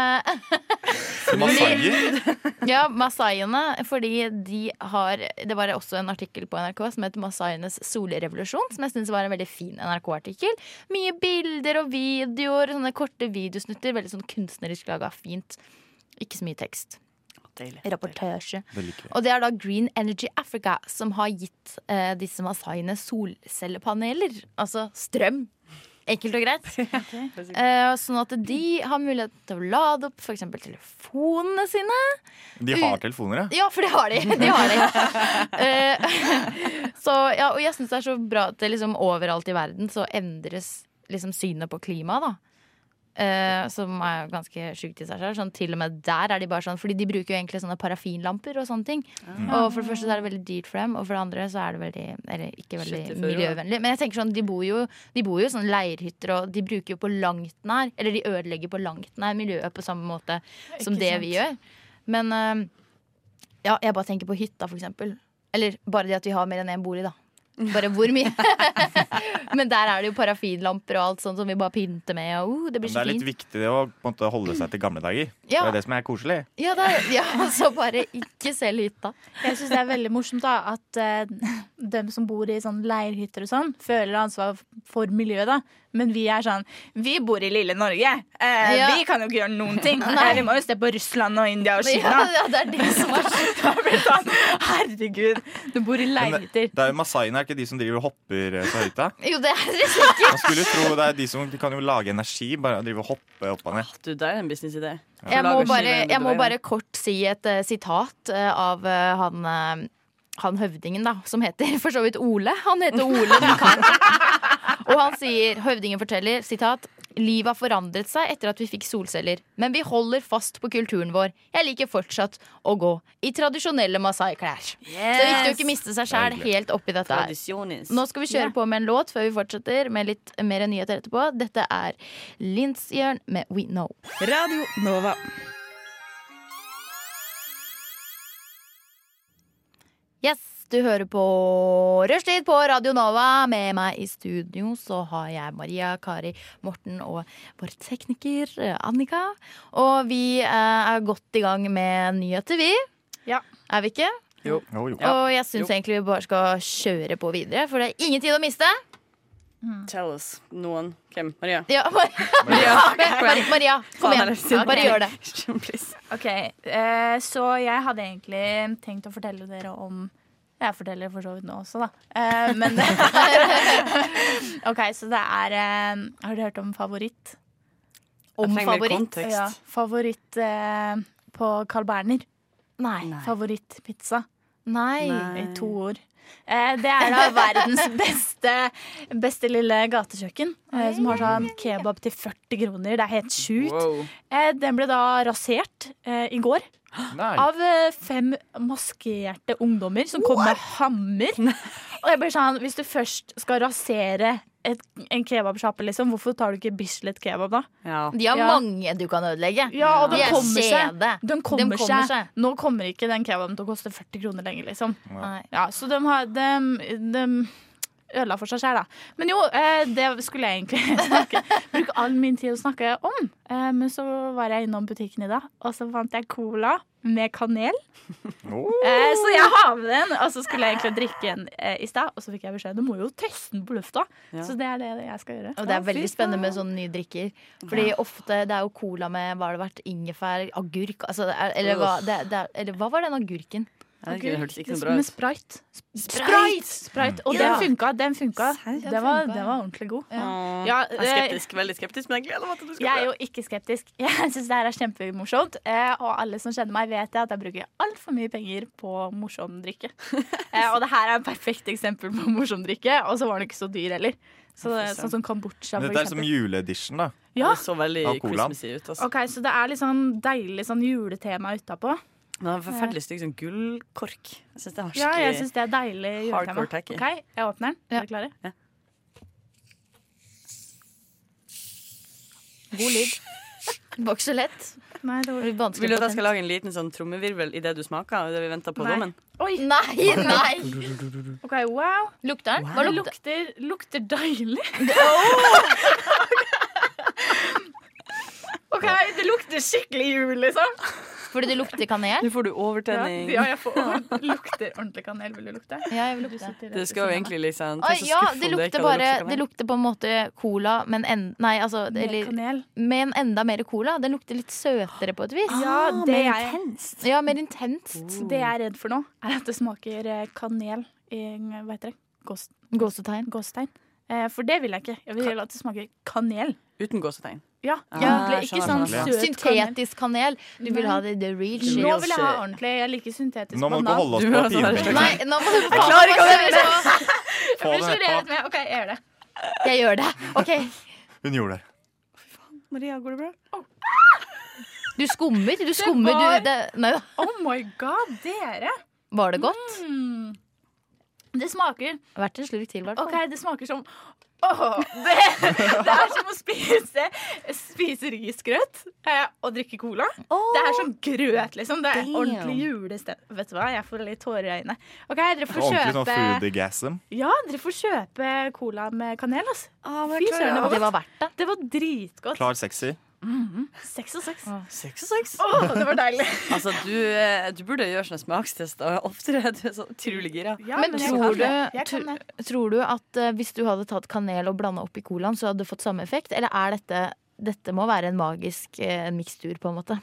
Masaier?
Ja, masaiene, fordi de har Det var også en artikkel på NRK som het 'Masaienes solrevolusjon', som jeg syns var en veldig fin NRK-artikkel. Mye bilder og videoer, sånne korte videosnutter. Veldig sånn kunstnerisk laga. Fint. Ikke så mye tekst.
Deilig.
Rapportasje.
Det liker vi.
Og det er da Green Energy Africa som har gitt eh, disse masaiene solcellepaneler. Altså strøm. Enkelt og greit. eh, sånn at de har mulighet til å lade opp f.eks. telefonene sine.
De har telefoner, ja?
Ja, for det har de. de, har de. Eh, så, ja, og jeg syns det er så bra at det liksom overalt i verden så endres liksom synet på klima, da. Eh, som er ganske sjukt i seg selv. Sånn, til og med der er de bare sånn Fordi de bruker jo egentlig sånne parafinlamper og sånne ting.
Mm.
Og for det første så er det veldig dyrt for dem, og for det andre så er det veldig Eller ikke veldig
Shit, det fører jo, da.
miljøvennlig. Men jeg tenker sånn, de bor jo De bor jo i sånne leirhytter, og de bruker jo på langt nær Eller de ødelegger på langt nær miljøet på samme måte som
Ikke
det
sant.
vi gjør. Men eh, ja, jeg bare tenker på hytta, for eksempel. Eller bare det at vi har mer enn én bolig, da. Bare hvor mye. Men der er det jo parafinlamper og alt sånt som vi bare pynter med. Og, uh, det
Men
blir
det
så
er litt
fint.
viktig det å på en måte, holde seg til gamle dager. Det
Ja.
er det som er koselig.
Ja, det er, ja, så bare ikke selg hytta.
Jeg syns det er veldig morsomt da, at eh, dem som bor i sånn leirhytter og sånn, føler ansvar for miljøet, da. Men vi er sånn Vi bor i lille Norge. Eh,
Ja.
Vi kan jo ikke gjøre noen ting.
Nei.
Eh, vi må jo se på Russland og India og
Ja,
Kina.
ja, det er det som er så
Da blir det sånn, Herregud, du bor
Men
i
det
leirhytter.
det er jo Masaiene er ikke de som driver og hopper eh, på høyta.
Jo, det er det sikkert.
Man skulle jo tro det er de som de kan jo lage energi, bare drive og hoppe opp og ned.
Du, det er en businessidé.
Jeg må
Lager
bare,
skive
jeg må
undertøy,
bare kort si et eh, sitat eh, av eh, han eh, han høvdingen, da, som heter for så vidt Ole. Han heter Ole Bukkar. Og han sier, høvdingen forteller, sitat Livet har forandret seg etter at vi fikk solceller, men vi holder fast på kulturen vår. Jeg liker fortsatt å gå i tradisjonelle masai-klær. Så det er viktig å ikke miste seg sjæl
Deilig.
helt oppi dette her.
Tradisjonis.
Nå skal vi kjøre
Ja.
på med en låt før vi fortsetter med litt mer nyheter etterpå. Dette er Linsjørn med We Know. Radio Nova. Yes, du hører på Rushtid på Radio Nova. Med meg i studio så har jeg Maria, Kari, Morten og vår tekniker eh, Annika. Og vi eh, er godt i gang med nyheter, vi. Er vi ikke?
Jo.
Og jeg syns egentlig vi bare skal kjøre på videre, for det er ingen tid å miste.
Tell us noen. Hvem? Maria?
Ja, Maria, Maria, Maria kom igjen. Bare gjør det.
Ok, eh, Så jeg hadde egentlig tenkt å fortelle dere om Jeg forteller for så vidt nå også, da. Eh, men OK, så det er eh, Har dere hørt om favoritt?
Om Jeg trenger mer favoritt? kontekst.
Ja. Favoritt eh, på Carl Berner.
Nei.
Favorittpizza.
Nei.
I to ord. Eh, det er da verdens beste, beste lille gatekjøkken. Eh, som har sånn kebab til 40 kroner. Det er helt sjukt. Eh, den ble da rasert eh, i går.
Nei.
Av eh, fem maskerte ungdommer som kom med hammer. Og jeg blir sånn, hvis du først skal rasere et, en kebabsjappe, liksom, hvorfor tar du ikke Bislett kebab da?
De har
Ja.
mange du kan ødelegge.
Ja, og
De
den
er
kommer seg.
kjede.
Den kommer,
De kommer
seg. Nå kommer ikke den kebaben til å koste 40 kroner lenger, liksom.
Nei.
Ja, så de har de, de ødela for seg sjæl, da. Men jo, eh, det skulle jeg egentlig snakke bruke all min tid å snakke om. Eh, Men så var jeg innom butikken i dag, og så fant jeg cola med kanel. Eh, Så jeg har med den, og så skulle jeg egentlig drikke en eh, i stad, og så fikk jeg beskjed Du må jo teste den på lufta.
Ja.
Så det er det jeg skal gjøre.
Og det er veldig spennende med sånne nye drikker. Fordi ofte det er jo cola med hva har det vært, ingefær, agurk altså, det er, eller, hva, det, det er, eller hva var den agurken?
Agurk,
det hørtes ikke så
det-
bra ut.
Med sprite.
Sprite!
Sprite, Og
Ja.
den funka. Den funka.
Den
Den var,
funka.
den var ordentlig god.
Åh,
Ja,
jeg er skeptisk, veldig skeptisk, men jeg gleder meg til du skal
Jeg er jo
prøve.
ikke skeptisk. Jeg syns det her er kjempemorsomt. eh, Og alle som kjenner meg, vet jeg at jeg bruker altfor mye penger på morsom drikke. Eh, Og det her er et perfekt eksempel på morsom drikke, og så var den ikke så dyr heller. Så, det- sånn som kombucha, for
Dette er som
eksempel.
juleedition, da.
Ja.
Det så veldig
Av colaen.
Christmassy ut. Altså.
Ok, Så det er litt sånn deilig sånn juletema utapå.
Den har en forferdelig stygg sånn gullkork. Jeg synes det er
Ja, jeg
skikkelig
syns det er deilig juletema.
hardcore tacky.
Ok, jeg åpner den. Er dere klare? God lyd.
Det var ikke så lett.
Nei, det var
Vil du at jeg skal lage en liten sånn trommevirvel idet du smaker? Det vi venter på
Nei.
dommen?
Oi. Nei, nei! OK, wow.
Lukter den?
Hva
Det lukter, lukter deilig. OK, det lukter skikkelig jul, liksom.
Fordi det lukter kanel?
Nå får du overtenning.
Ja, ja jeg får, lukter ordentlig kanel. Vil du lukte?
Ja, jeg vil
lukte.
Det skal jo egentlig liksom
Oi, ja, det lukter bare Det lukter på en måte cola, men en, nei, altså
Med kanel?
Med en enda mer cola. Den lukter litt søtere på et vis.
Ja, Ah, det mer er- intenst.
Ja, mer intenst.
Det jeg er redd for nå, er at det smaker eh, kanel i hva heter det? Gås-
Gåsetegn.
Eh, For det vil jeg ikke. Jeg vil at det smaker kanel.
Uten gåsetegn.
Ja,
Ah,
ordentlig.
jeg
Ikke sånn
skjønner.
søt kanel.
Syntetisk kanel. Du vil ha det the real shit.
Nå vil jeg ha ordentlig. Jeg liker syntetisk
Nå må du ikke holde oss
Du
på
må også være
pinebenken.
sløv.
Nei, nå må du
Jeg klarer ikke å
Få
gjøre
det.
det! Jeg
Få
blir så
det.
revet med. OK, jeg gjør det.
Jeg gjør det. OK.
Hun gjorde det.
Maria, går det bra?
Du skummer. Du skummer.
var-
Du, det, nei da.
Oh my god, dere!
Var det godt?
Mm. Det smaker
Vært en slurk til, i hvert fall.
OK, det smaker som Åh, det, det er som å spise, spise risgrøt eh, og drikke cola. det er som grøt, liksom. Det er
Damn.
ordentlig julestem... Vet du hva, jeg får litt tårer i øynene. OK, dere får
Ordentlig sånn
kjøpe
foodgasm.
Ja, dere får kjøpe cola med kanel, altså.
ah,
men
Fy
klar,
søren,
ja.
det
Det
var
var
godt. Det var, dritgodt.
Klar sexy.
Mhm. Seks og seks.
Seks og seks.
Åh, det var deilig.
altså, du, eh, du burde gjøre sånne smakstester oftere. Du er så utrolig gira.
men tror du, tr- tror du at eh, hvis du hadde tatt kanel og blanda oppi colaen, så hadde det fått samme effekt? Eller er dette Dette må være en magisk eh, mikstur, på en måte.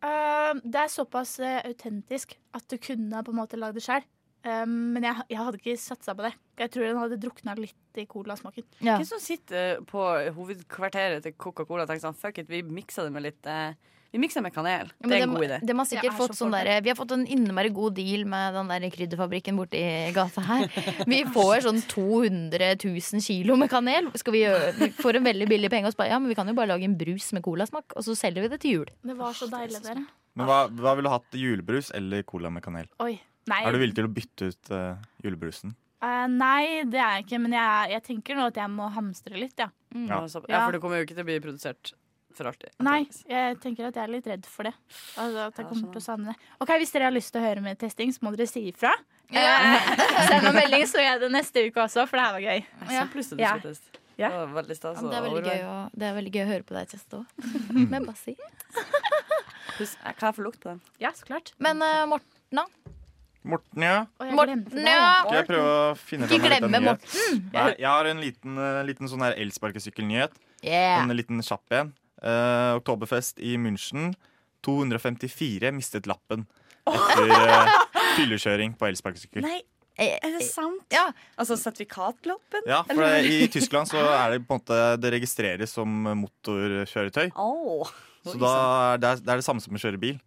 Eh, det er såpass eh, autentisk at du kunne på en måte lagd det sjøl. men jeg, jeg hadde ikke satsa på det. Jeg tror den hadde drukna litt i colasmaken.
Hvem som sitter på hovedkvarteret til Coca-Cola og tenker sånn Fuck it, vi mikser det med litt eh, Vi mikser med kanel.
Ja, men
det er en
dem-
god idé.
dem har sikkert fått sånn der, vi har fått en innmari god deal med den der krydderfabrikken borti gata her. Vi får sånn 200 000 kilo med kanel. Skal vi, gjøre, vi får en veldig billig penge og spare, ja, men vi kan jo bare lage en brus med colasmak, og så selger vi det til jul.
Det var så deilig, dere.
Men hva, hva ville du hatt? Julebrus eller cola med kanel?
Oi. Nei.
Er du villig til å bytte ut eh, julebrusen?
Eh, nei, det er jeg ikke, men jeg, jeg tenker nå at jeg må hamstre litt, ja.
Ja, så- ja,
Ja.
for det kommer jo ikke til å bli produsert for alltid.
Nei, jeg tenker at jeg er litt redd for det. Altså, at jeg kommer til å savne det. Ok, Hvis dere har lyst til å høre mer testing, så må dere si ifra. Eh, Send meg melding, så gjør jeg det neste uke også, for det her var gøy.
Så plutselig du
Ja.
skal teste. Det var veldig stas.
Ja, men det, er
å
veldig gøy
overvære.
å, det er veldig gøy å høre på deg teste òg. Men bare si.
Husk, jeg kan jeg få lukt på den?
Ja, så klart.
Men eh, Morten, da?
Morten, ja.
Morten, ja.
Skal jeg prøve å finne
Ikke
fram en liten
glemme
nyhet?
Morten.
Nei, jeg har en liten, eh, liten sånn her elsparkesykkelnyhet.
Yeah.
En liten kjapp en. Eh, oktoberfest i München. 254 mistet lappen etter eh, fyllekjøring på elsparkesykkel.
Eh,
er det sant? Eh, Ja. Altså sertifikatloppen?
Ja, for det, I Tyskland så er det på en måte Det registreres som motorkjøretøy. Så da er det, det er det samme som å kjøre bil.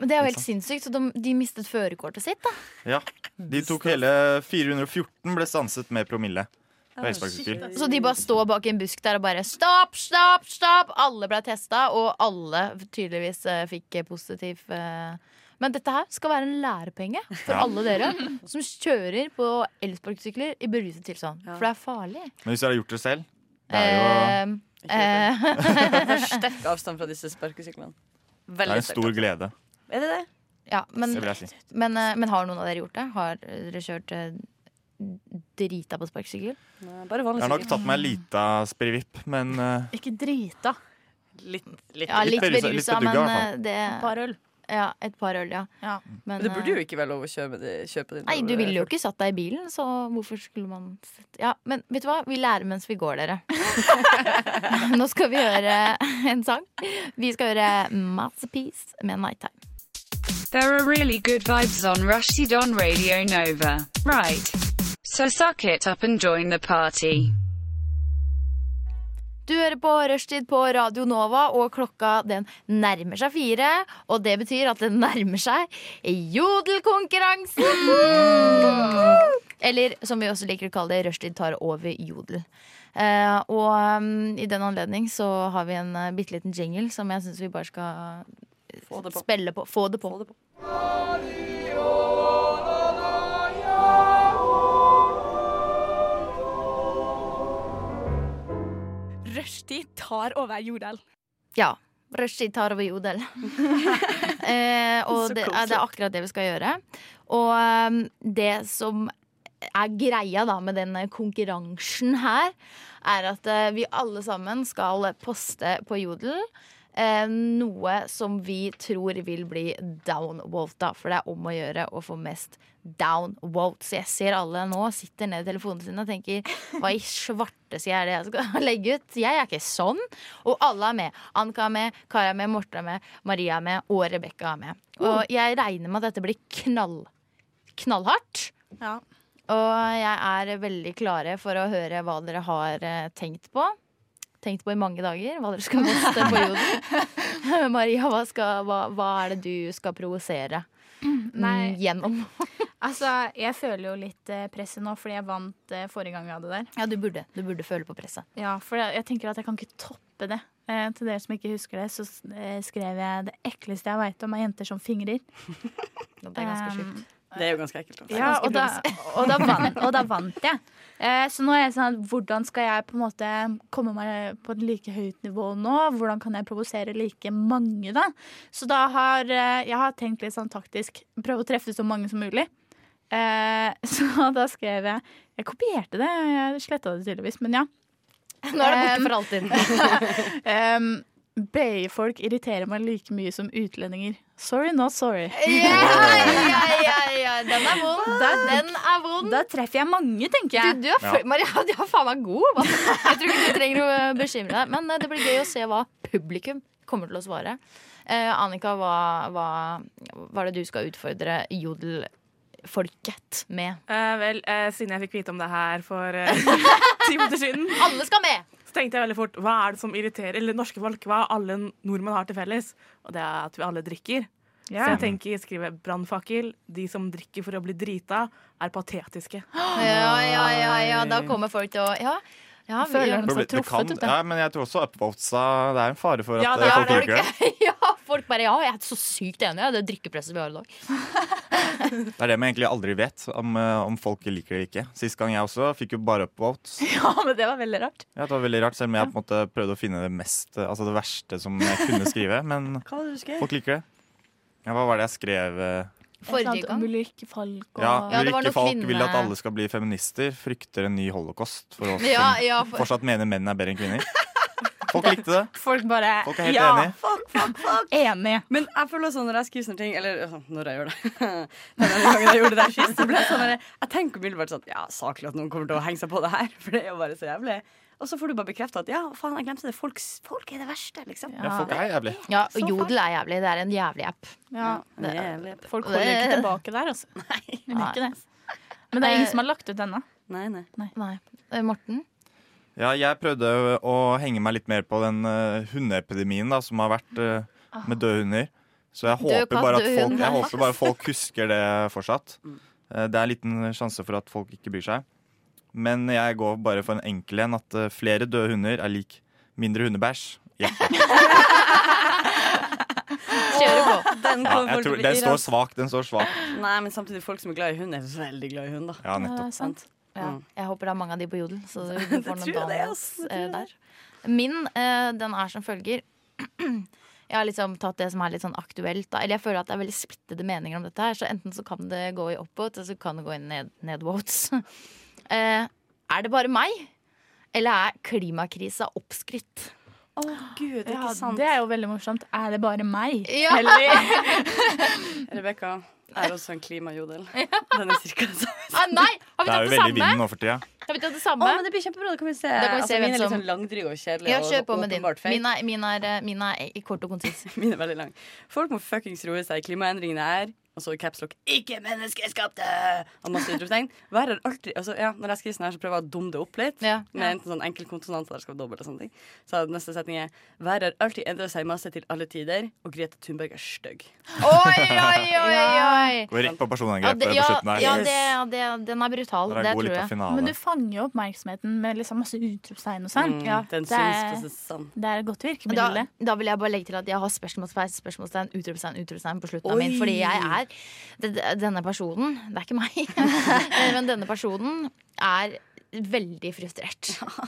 Men det er jo helt sinnssykt. Så de, de mistet førerkortet sitt, da.
Ja.
Mm.
De tok hele 414 ble stanset med promille på elsparkesykkel.
Så de bare står bak en busk der og bare stopp, stopp, stopp! Alle ble testa, og alle tydeligvis eh, fikk eh, positiv eh. Men dette her skal være en lærepenge for
Ja.
alle dere som kjører på elsparkesykler i beruset tilstand. For det er farlig.
Men hvis dere har gjort det selv Det er jo
Eh, eh,
Sterk avstand fra disse sparkesyklene.
det er
Veldig
en stor glede.
Er det det?
ja, men,
Det vil jeg si.
men, eh, men har noen av dere gjort det? Har dere kjørt eh, drita på sparkesykkel?
Bare
Jeg har nok tatt meg en lita sprivipp, men eh,
Ikke drita.
Litt,
Ja, litt
Litt berusa, litt
berusa,
bedugga, i hvert
men
fall.
eh, det
Et par øl.
Ja, et par øl, ja.
Men
Men,
det burde jo
eh,
ikke være lov å kjøpe, de, kjøpe de
Nei, du ville jo ikke satt deg i bilen, så hvorfor skulle man sett Ja, men vet du hva? Vi lærer mens vi går, dere. Nå skal vi høre en sang. Vi skal høre Masterpiece med Nighttime.
There are really good vibes on Rushdie on Radio Nova. Right. So suck it up and join the party.
Du hører på Rushtid på Radio Nova, og klokka den nærmer seg fire. Og det betyr at den nærmer seg jodelkonkurransen! Eller som vi også liker å kalle det, Rushtid tar over jodel. Eh, og um, i den anledning så har vi en uh, bitte liten jingle som jeg syns vi bare skal
Få det på.
spille på. Få det på.
Rushtid tar over jordel.
Ja. Rushtid tar over jodel. eh, og
Så
det,
koselig.
er- det er akkurat det vi skal gjøre. Og ehm, det som er greia da med den konkurransen her, er at eh, vi alle sammen skal poste på jodel. Eh, noe som vi tror vil bli downvota, for det er om å gjøre å få mest downvote. Så jeg ser alle nå sitter ned i telefonen sin og tenker hva i svarte sier jeg er det jeg skal legge ut? Jeg er ikke sånn. Og alle er med. Anka er med, Kari er med, Morten er med, Maria er med, og Rebekka er med. Og jeg regner med at dette blir knall, knallhardt.
Ja.
Og jeg er veldig klare for å høre hva dere har eh, tenkt på. Tenkt på i mange dager hva dere skal poste på jorden. Maria, hva, skal, hva, hva er det du skal provosere mm,
Nei.
gjennom?
Altså, jeg føler jo litt eh, presset nå, fordi jeg vant eh, forrige gang vi hadde det der.
Ja, du burde, du burde føle på presset.
Ja, for jeg, jeg tenker at jeg kan ikke toppe det. Eh, til dere som ikke husker det, så eh, skrev jeg det ekleste jeg veit om, er jenter som fingrer.
Det er ganske
Um,
sjukt.
Det er jo ganske ekkelt. altså.
Ja, og da, og, da vant, og da vant jeg. Eh, så nå er jeg sånn hvordan skal jeg på en måte komme meg på et like høyt nivå nå? Hvordan kan jeg provosere like mange, da? Så da har eh, jeg har tenkt litt sånn taktisk. Prøve å treffe så mange som mulig. Eh, så da skrev jeg Jeg kopierte det, jeg sletta det tydeligvis, men ja.
Nå er det borte
Um,
for alltid.
Um, Bay-folk irriterer meg like mye som utlendinger. Sorry, not sorry.
ja, ja, ja, den er vond.
Der-
Den er vond.
Da treffer jeg mange, tenker jeg.
Du, du er fø- Maria, du er faen meg god. hva? Jeg tror ikke du trenger å bekymre deg. Men eh, det blir gøy å se hva publikum kommer til å svare. Eh, Annika, hva, hva, hva er det du skal utfordre jodelfolket med?
Eh, vel, eh, siden jeg fikk vite om det her for eh, ti minutter siden
Alle skal med!
Så tenkte jeg veldig fort hva er det som irriterer Eller norske folk, hva alle nordmenn har til felles? Og det er at vi alle drikker.
Ja.
Så jeg tenker jeg skriver brannfakkel. De som drikker for å bli drita, er patetiske.
Ja, ja, ja, ja, da kommer folk til å Ja, ja vi
Det
gjør dem
blir-
så
det kan-
truffet ut.
Ja,
da.
men jeg tror også upvotesa Det er en fare for at
Ja,
eh,
det er
folk
det.
drikker det.
Ja, folk bare Ja, jeg er så sykt enig, jeg. Det drikkepresset vi har i dag.
Det er det man egentlig aldri vet, om, eh, om folk liker det eller ikke. Sist gang jeg også fikk jo bare upvotes.
Ja, men det var veldig rart.
Ja, det var veldig rart, selv om jeg på en måte prøvde å finne det mest eh, Altså det verste som jeg kunne skrive. Men
Hva var det du skrev?
folk liker det. Ja, hva var det jeg skrev? eh?
Forrige gang. Ulrikke Falk og
Ja, Ulrikke Falk vil at alle skal bli feminister. Frykter en ny holocaust for oss
Ja,
som
ja, for-
fortsatt mener menn er bedre enn kvinner. Folk likte det.
Folk bare
Folk er helt
ja.
enige.
Enig.
Men jeg føler sånn når jeg skriver sånne ting Eller øh, når jeg gjør det Den gangen jeg gjorde det der sist, så ble jeg sånn der, Jeg tenker umiddelbart sånn Ja, saklig at noen kommer til å henge seg på det her, for det er jo bare så jævlig. Og så får du bare bekrefta at ja, faen, jeg glemte det. Folk, folk er det verste, liksom.
Ja, folk er
jævlig.
Ja, og Jodel er jævlig. Det er en jævlig app.
Ja.
Det er-
Folk holder ikke
Det-
tilbake der, altså. Nei. De gjør ikke det. Men det
Eh,
er ingen som har lagt ut ennå.
Nei, nei.
Eh, Morten?
Ja, jeg prøvde å henge meg litt mer på den eh, hundeepidemien da, som har vært eh, med døde hunder. Så jeg
Død
håper,
katt,
bare at
død
folk,
hund.
jeg håper bare folk husker det fortsatt. Eh, Det er en liten sjanse for at folk ikke bryr seg. Men jeg går bare for en enkel en, at eh, flere døde hunder er lik mindre hundebæsj. Ja.
Kjører på. Den
Ja, jeg
kommer til
tror, den
å bli
står sånn.
irrasjonell.
svak, den står svak.
Nei, men samtidig, folk som er glad i hund, er veldig glad i hund, da.
Ja, nettopp.
Ja, sant. Ja,
Mm.
jeg håper det er mange av de på Jodel. Så vi
Det
får noen
tror jeg det,
downloads eh, der. Min eh, den er som følger. Jeg har liksom tatt det som er litt sånn aktuelt. Da. Eller jeg føler at det er veldig splittede meninger om dette her. Så enten så kan det gå i upvotes, eller så kan det gå i ned, nedvotes. Eh, er det bare meg? Eller er klimakrisa oppskrytt?
Å gud,
det er ikke sant. Det er jo veldig morsomt. Er det bare meg?
Ja.
Rebekka er også en klimajodel. Den er cirka det samme.
Ah, nei! Har
Det er jo veldig vinden nå for tida.
Har vi tatt det samme?
Å, men det blir kjempebra. Da kan vi se.
Da kan vi se
altså,
hvem
min er litt
som-
sånn langdryg og kjedelig.
Ja,
og
kjør på med din.
åpenbart fake.
Min er, min er, eh, min er i kort og konsis.
Min er veldig lang. Folk må fuckings roe seg. Klimaendringene er Og så i caps lock 'ikke menneskeskapte'! Og masse utropstegn. Vær er alltid altså, ja, Når jeg skriver sånn her, så prøver jeg å dumme det opp litt. Med
ja.
enten sånn enkel konsonant der skal være dobbelt og sånne ting. Så neste setning er 'Vær har alltid endra seg masse til alle tider', og Grete Thunberg er stygg.
Oi, oi, oi, oi!
Går rett på
Ja, det,
personangrepet
ja,
på slutten her.
ja det, ja, det, den er brutal.
Den
Det,
er god
tror
litt på
jeg.
finalen.
Men du fanger jo oppmerksomheten med liksom masse utropstegn og sånn.
Mm, Ja. den
det, er,
synsprosessen.
det er et godt
Da,
virkemiddel.
da vil jeg bare legge til at jeg har spørsmålstegn, spørsmålstegn, utropstegn, utropstegn på slutten av
Oi.
min. Fordi jeg er det- det- denne personen Det er ikke meg, eh, men denne personen er veldig frustrert.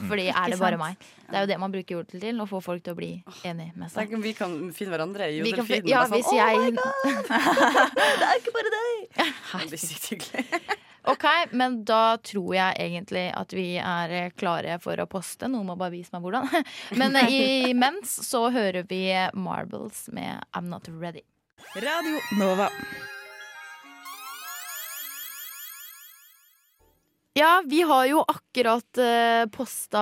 Fordi
Ikke
er det bare
sant?
meg? Det er jo det man bruker jodel til, å få folk til å bli enig med
Så
seg.
vi kan finne hverandre i
Vi kan-
jodelfiden.
ja,
og bare sånn,
hvis
«Å,
jeg-
my God, Det er ikke bare deg! Det blir sykt hyggelig.
Ok, men da tror jeg egentlig at vi er eh, klare for å poste. Noen må bare vise meg hvordan. Men eh, imens så hører vi Marbles med I'm Not Ready.
Radio Nova.
Ja, vi har jo akkurat uh, posta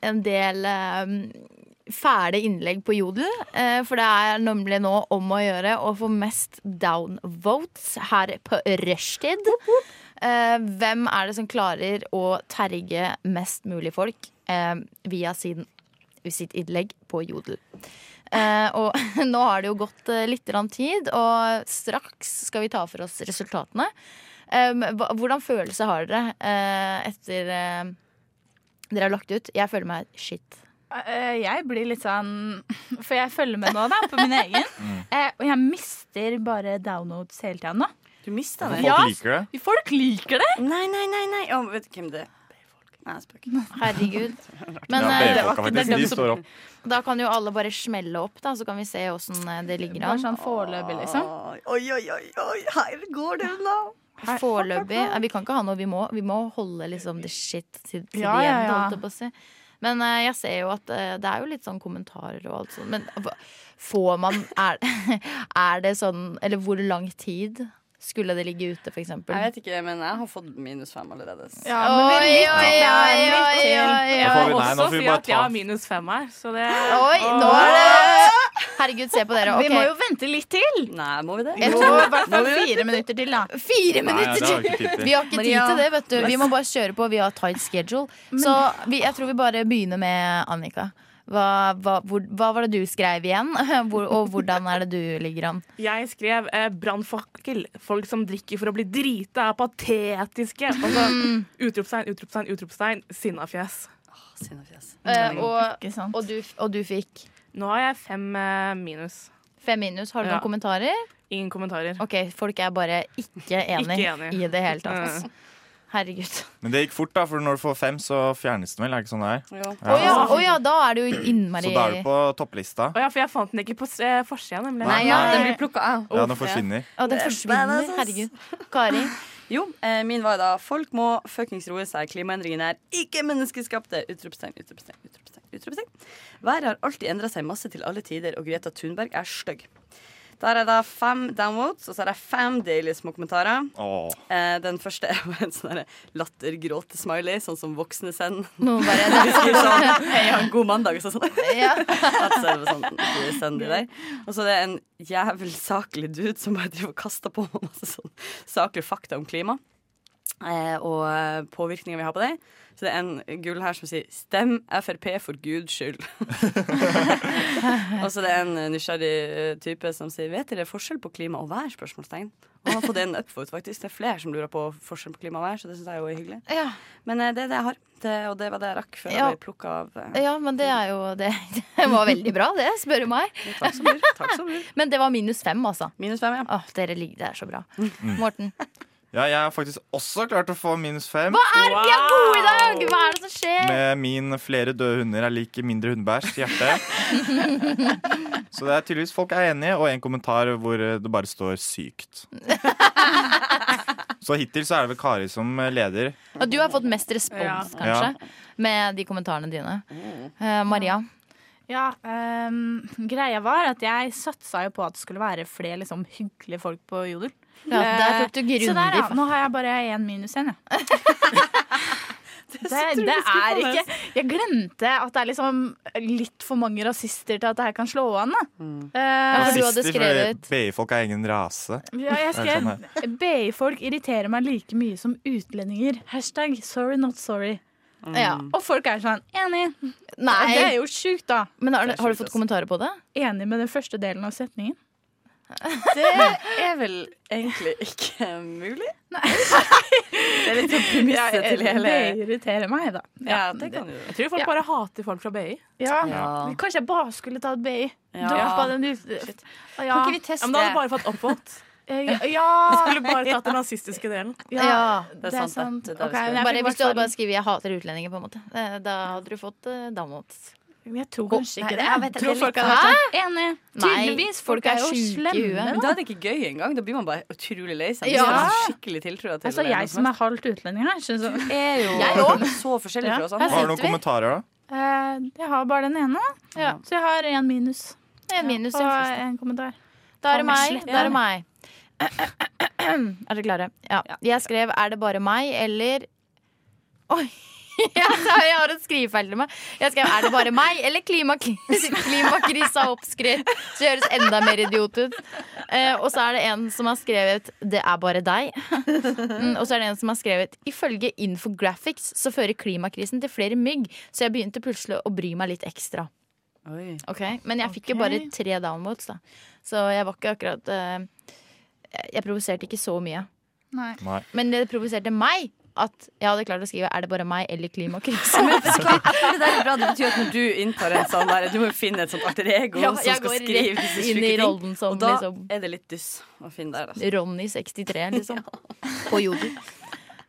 en del eh, fæle innlegg på Jodel. eh, for det er nemlig nå om å gjøre å få mest downvotes her på rushtid. Eh, hvem er det som klarer å terge mest mulig folk eh, via sin, sitt innlegg på Jodel? Eh, og nå har det jo gått eh, litt grann tid, og straks skal vi ta for oss resultatene. Um, hva- hvordan følelse har dere eh, etter eh, dere har lagt ut? Jeg føler meg shit.
Eh, Jeg blir litt sånn For jeg følger med nå, da, på min egen.
Mm.
Eh, Og jeg mister bare downloads hele tida nå.
Du mister
det? Folk liker
det? Folk liker det!
Nei, nei, nei. nei. Å, vet du hvem det er? Nei, jeg spøker.
Herregud.
Ja,
eh,
det var ikke- det er faktisk, de står opp.
Da kan jo alle bare smelle opp, da, så kan vi se åssen eh, det ligger
Bare
an.
sånn foreløpig, liksom.
Oi, oi, oi, oi. Her går det unna.
Foreløpig. eh, Vi kan ikke ha noe. Vi må, vi må holde liksom the shit til, til
Ja,
the
ja,
end,
ja.
holdt jeg på å si. Men eh, jeg ser jo at eh, det er jo litt sånn kommentarer og alt sånt. Men eh, hva- får man er, er det sånn Eller hvor lang tid skulle det ligge ute, for eksempel?
Jeg vet ikke, men jeg har fått minus fem allerede. så-
Ja, men det er litt
Oi, oi,
til. Det er litt
oi,
til.
oi, oi.
Jeg
Da får vi- nei,
vil
nå
også
får vi
si
bare
at jeg
ta-
har minus fem her, så det
Oi, nå er det Herregud, se på dere.
Vi må jo
vente litt til.
Nei, må vi det?
Jeg tror i hvert fall
Må vi det?
fire minutter til, da. Fire
Nei,
minutter
det har vi ikke tid
til!
til.
Vi har ikke tid
Maria,
til det, vet du. Vi
men-
må bare kjøre på. Vi har tight schedule. Så vi, jeg tror vi bare begynner med Annika. Hva, hva, hvor, hva var det du skrev igjen? Hvor, og hvordan er det du ligger an?
Jeg skrev eh, 'brannfakkel'. Folk som drikker for å bli drita, er patetiske. Og så utropstegn, utropstegn, utropstegn. Sinnafjes.
Eh, og, og, du, og du fikk?
Nå har jeg fem eh, minus.
Fem minus. Har du
Ja.
noen kommentarer?
Ingen kommentarer.
Ok, folk er bare ikke enig,
Ikke enig.
i det hele tatt.
Mm.
Herregud.
Men det gikk fort, da, for når du får fem, så fjernes den vel? Er det ikke sånn det er?
Å ja, å ja, da er det jo innmari
Så da er du på topplista.
Å ja, for jeg fant den ikke på s- eh, forsida, nemlig.
Nei, ja, den blir
plukka av.
Ja, den forsvinner.
Å, den forsvinner. Herregud. Kari?
Jo, eh, min var da folk må fuckings roe seg. Klimaendringene er ikke menneskeskapte! Utropstegn, utropstegn, utropstegn. utropstegn. Været har alltid endra seg masse til alle tider, og Greta Thunberg er stygg. Der er da fem downvotes, og så er det fem deilige små kommentarer.
Åh.
Eh, den første er jo en sånn derre latter-gråte-smiley, sånn som voksne sender.
Noen bare
De skriver sånn Hei, ha en god mandag, og så sånn. At så er det sånn de sender de der. Og så er det en jævel saklig dude som bare driver og kaster på meg masse sånn saklige fakta om klima. Eh, og eh, påvirkningen vi har på det. Så det er en gull her som sier 'Stem Frp for guds skyld'. og så det er en nysgjerrig eh, type som sier 'Vet dere forskjell på klima og vær?' spørsmålstegn. Og han har fått en upvote, faktisk. Det er flere som lurer på forskjell på klima og vær, så det syns jeg jo er hyggelig. Men eh, det er det jeg har, det, og det var det jeg rakk før
Ja.
jeg ble plukka av. eh,
Ja, men det er jo Det, det var veldig bra, det, spør du meg.
Takk som
Men det var minus fem, altså.
Minus fem, ja.
Åh, dere ligger der så bra.
Mm.
Morten.
Ja, jeg har faktisk også klart å få minus fem.
Hva er det vi er gode i dag?! Hva er det som skjer?
Med min 'flere døde hunder er lik mindre hundebæsj' hjerte. Så det er tydeligvis folk er enige, og en kommentar hvor eh, det bare står 'sykt'. Så hittil så er det vel Kari som eh, leder.
Og du har fått mest respons,
Ja.
kanskje, med de kommentarene dine. Eh, Maria.
Ja, ehm, greia var at jeg satsa jo på at det skulle være flere liksom, hyggelige folk på Jodel.
Ja, der
Eh,
tok du
Så der,
grundig
ja.
fa-
Nå har jeg bare én minus igjen, jeg. Det, det, er
skuffende.
ikke Jeg glemte at det er liksom litt for mange rasister til at det her kan slå an. Da. Eh,
Nazister, for BI-folk er ingen rase.
ja, jeg
Er det sånn her?
skrev BI-folk irriterer meg like mye som utlendinger. Hashtag sorry not sorry.
Mm. Ja.
Og folk er sånn enig.
Nei.
Det er jo sjukt, da.
Men har, har du fått kommentarer på det?
Enig med den første delen av setningen.
Det er vel egentlig ikke mulig. Det er litt premisset
Ja,
til hele
Det irriterer meg, da.
Ja, det kan jo
Jeg tror folk
Ja.
bare hater folk fra BI.
Ja.
Ja.
Men Kanskje jeg bare skulle tatt BI.
Ja.
Droppa den ut. Ja.
Kan ikke vi teste? Ja, men da hadde du bare fått oppvått.
Eh, Ja,
Du
ja.
skulle bare tatt den nazistiske delen.
Ja,
det er sant, det. Det er det vi
Ok,
skal
men
gjøre.
bare, hvis du hadde bare
Hvertfall.
skrevet 'jeg hater utlendinger', på en måte, eh, da hadde du fått eh, downvotes.
Men Jeg tror kanskje
Nei,
ikke det.
jeg vet
tror
ikke.
folk
Hæ?
hadde vært sånn, enig.
Nei,
Tydeligvis.
folk
Folk
er
er jo
syke i huet.
slemme.
Men da er det ikke gøy engang. Da blir man bare utrolig lei seg.
Ja.
Ja. Skikkelig tiltrua til
Altså,
det.
jeg som er halvt utlending her, syns jeg.
er jo
Jeg òg.
så forskjellig
Ja.
fra oss
Her
andre.
Har du noen kommentarer, da?
Eh, Jeg har bare den ene. Så jeg har én minus.
En minus, ja.
Og en kommentar.
Da er det
Kan
meg.
slette
Da er
det.
det meg. Er dere klare? Ja. Jeg skrev 'er det bare meg', eller Oi! Jeg sa- jeg har en skrivefeil til meg. Jeg skrev 'er det bare meg', eller klimakri- 'klimakrisa oppskrytt'. Så det høres enda mer idiot ut. Eh, og så er det en som har skrevet 'det er bare deg'. Mm, og så er det en som har skrevet 'ifølge Infographics så fører klimakrisen til flere mygg', så jeg begynte plutselig å bry meg litt ekstra.
Oi.
Ok, Men jeg fikk jo bare tre downvotes, da. Så jeg var ikke akkurat eh, Jeg provoserte ikke så mye.
Nei.
Men det provoserte meg at jeg hadde klart å skrive 'Er det bare meg?' eller 'Klimakrise'.
Men vet du hva? Jeg føler det der er bra. Det betyr at når du inntar en sånn der, du må jo finne et sånt alter ego
Ja,
som
jeg
skal
går
skrive
rett
disse
inn
syke
i
ting.
rollen som
Og da
liksom-
er det litt dyss å finne der. Altså.
Ronny63, liksom. På jodel.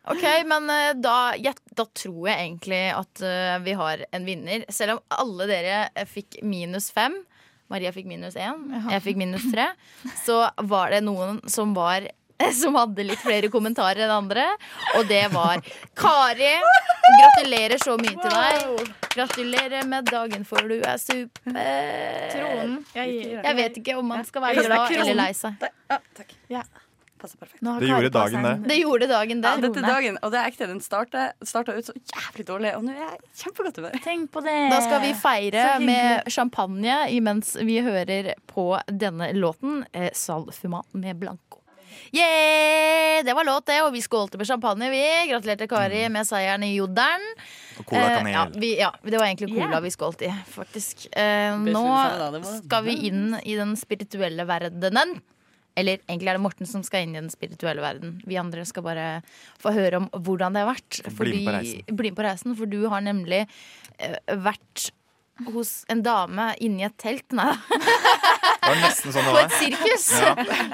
Ok, men eh, da, jeg, da tror jeg egentlig at eh, vi har en vinner. Selv om alle dere eh, fikk minus fem. Maria fikk minus én,
Jaha.
jeg fikk minus tre. Så var det noen som var eh, som hadde litt flere kommentarer enn andre. Og det var Kari. Gratulerer så mye til deg. Gratulerer med dagen, for du er super.
Kronen. Jeg, gir-
Jeg vet ikke om man skal
Ja,
være
det er
glad
kronen.
eller lei seg.
Ja, takk. passer perfekt.
Nå har Det Kari gjorde på seg dagen, en- det. Det gjorde dagen der,
Ja, dette er
Rone.
dagen, og det er ekte. Den starta, starta ut så jævlig dårlig, og nå er jeg i kjempegodt humør.
Tenk på det.
Da skal vi feire
Så hyggelig.
med champagne imens vi hører på denne låten, eh, Sal Fuma med Blanco. Yeah! Det var låt, det, og vi skålte med champagne, vi. Gratulerte Kari med seieren i Jodelen.
Og cola kanel.
Eh, ja, vi, ja, det var egentlig cola
Yeah.
vi skålte i, faktisk. Eh,
Best
nå
vi sa da, det var-
skal vi inn i den spirituelle verdenen. Eller egentlig er det Morten som skal inn i den spirituelle verden. Vi andre skal bare få høre om hvordan det har vært.
Bli med på reisen.
Bli med på reisen, for du har nemlig eh, vært hos en dame inni et telt. Nei da.
Det var nesten sånn det
På
var.
et sirkus
Ja.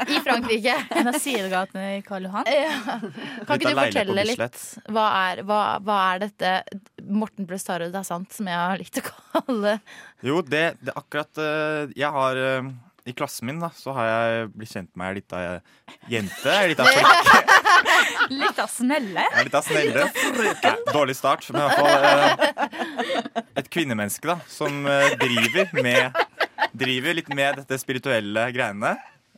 i Frankrike.
En av sidegatene i eh, Karl Johan.
Kan
Litt av
ikke du
leilighet på
fortelle
Bislett.
litt? Hva er, hva, hva er dette Morten pluss Tarjei, det er sant, som jeg har likt å kalle
Jo, det, det er akkurat eh, Jeg har eh, I klassen min da, så har jeg blitt kjent med ei lita eh, jente. Ei lita frekk.
Litt av snelle.
Ei lita snelle. Nei, Dårlig start, men i hvert fall eh, et kvinnemenneske da, som eh, driver med Driver litt med dette spirituelle greiene.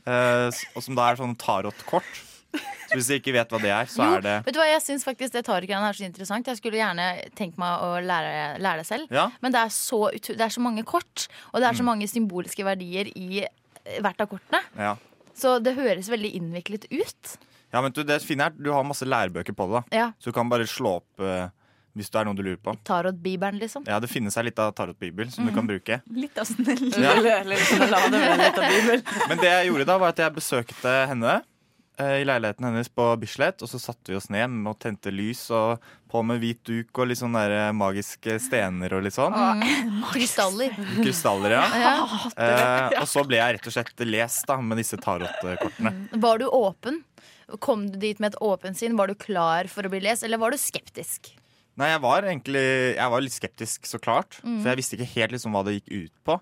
eh, s- og som da er sånn tarotkort. Så hvis du ikke vet hva det er, så
Jo,
er det
Vet du hva, jeg syns faktisk det tarikgreiene er så interessant. Jeg skulle gjerne tenkt meg å lære, lære det selv.
Ja. Mm.
Men det er, så, ut- det er så mange kort, og det er så mange symboliske verdier i eh, hvert av kortene.
ja.
Så det høres veldig innviklet ut.
Ja, men du, det fine er at du har masse lærebøker på det. da
Ja.
Så du kan bare slå opp eh, hvis det er noe du lurer på.
Tarotbibelen, liksom.
Ja, Det finnes ei lita tarotbibel som
Mhm.
du kan bruke.
Litt av sånn- snelle.
Ja.
bibel.
Men det jeg gjorde da, var at jeg besøkte henne eh, i leiligheten hennes på Bislett. Og så satte vi oss ned og tente lys og på med hvit duk og litt sånne der eh, magiske stener og litt sånn.
Mm. Krystaller.
Krystaller, ja.
Ja, jeg hater det.
Eh, og så ble jeg rett og slett lest da med disse tarotkortene.
Var du åpen? Kom du dit med et åpent sinn? Var du klar for å bli lest, eller var du skeptisk?
Nei, jeg var egentlig jeg var litt skeptisk, så klart.
Mm.
For jeg visste ikke helt liksom hva det gikk ut på.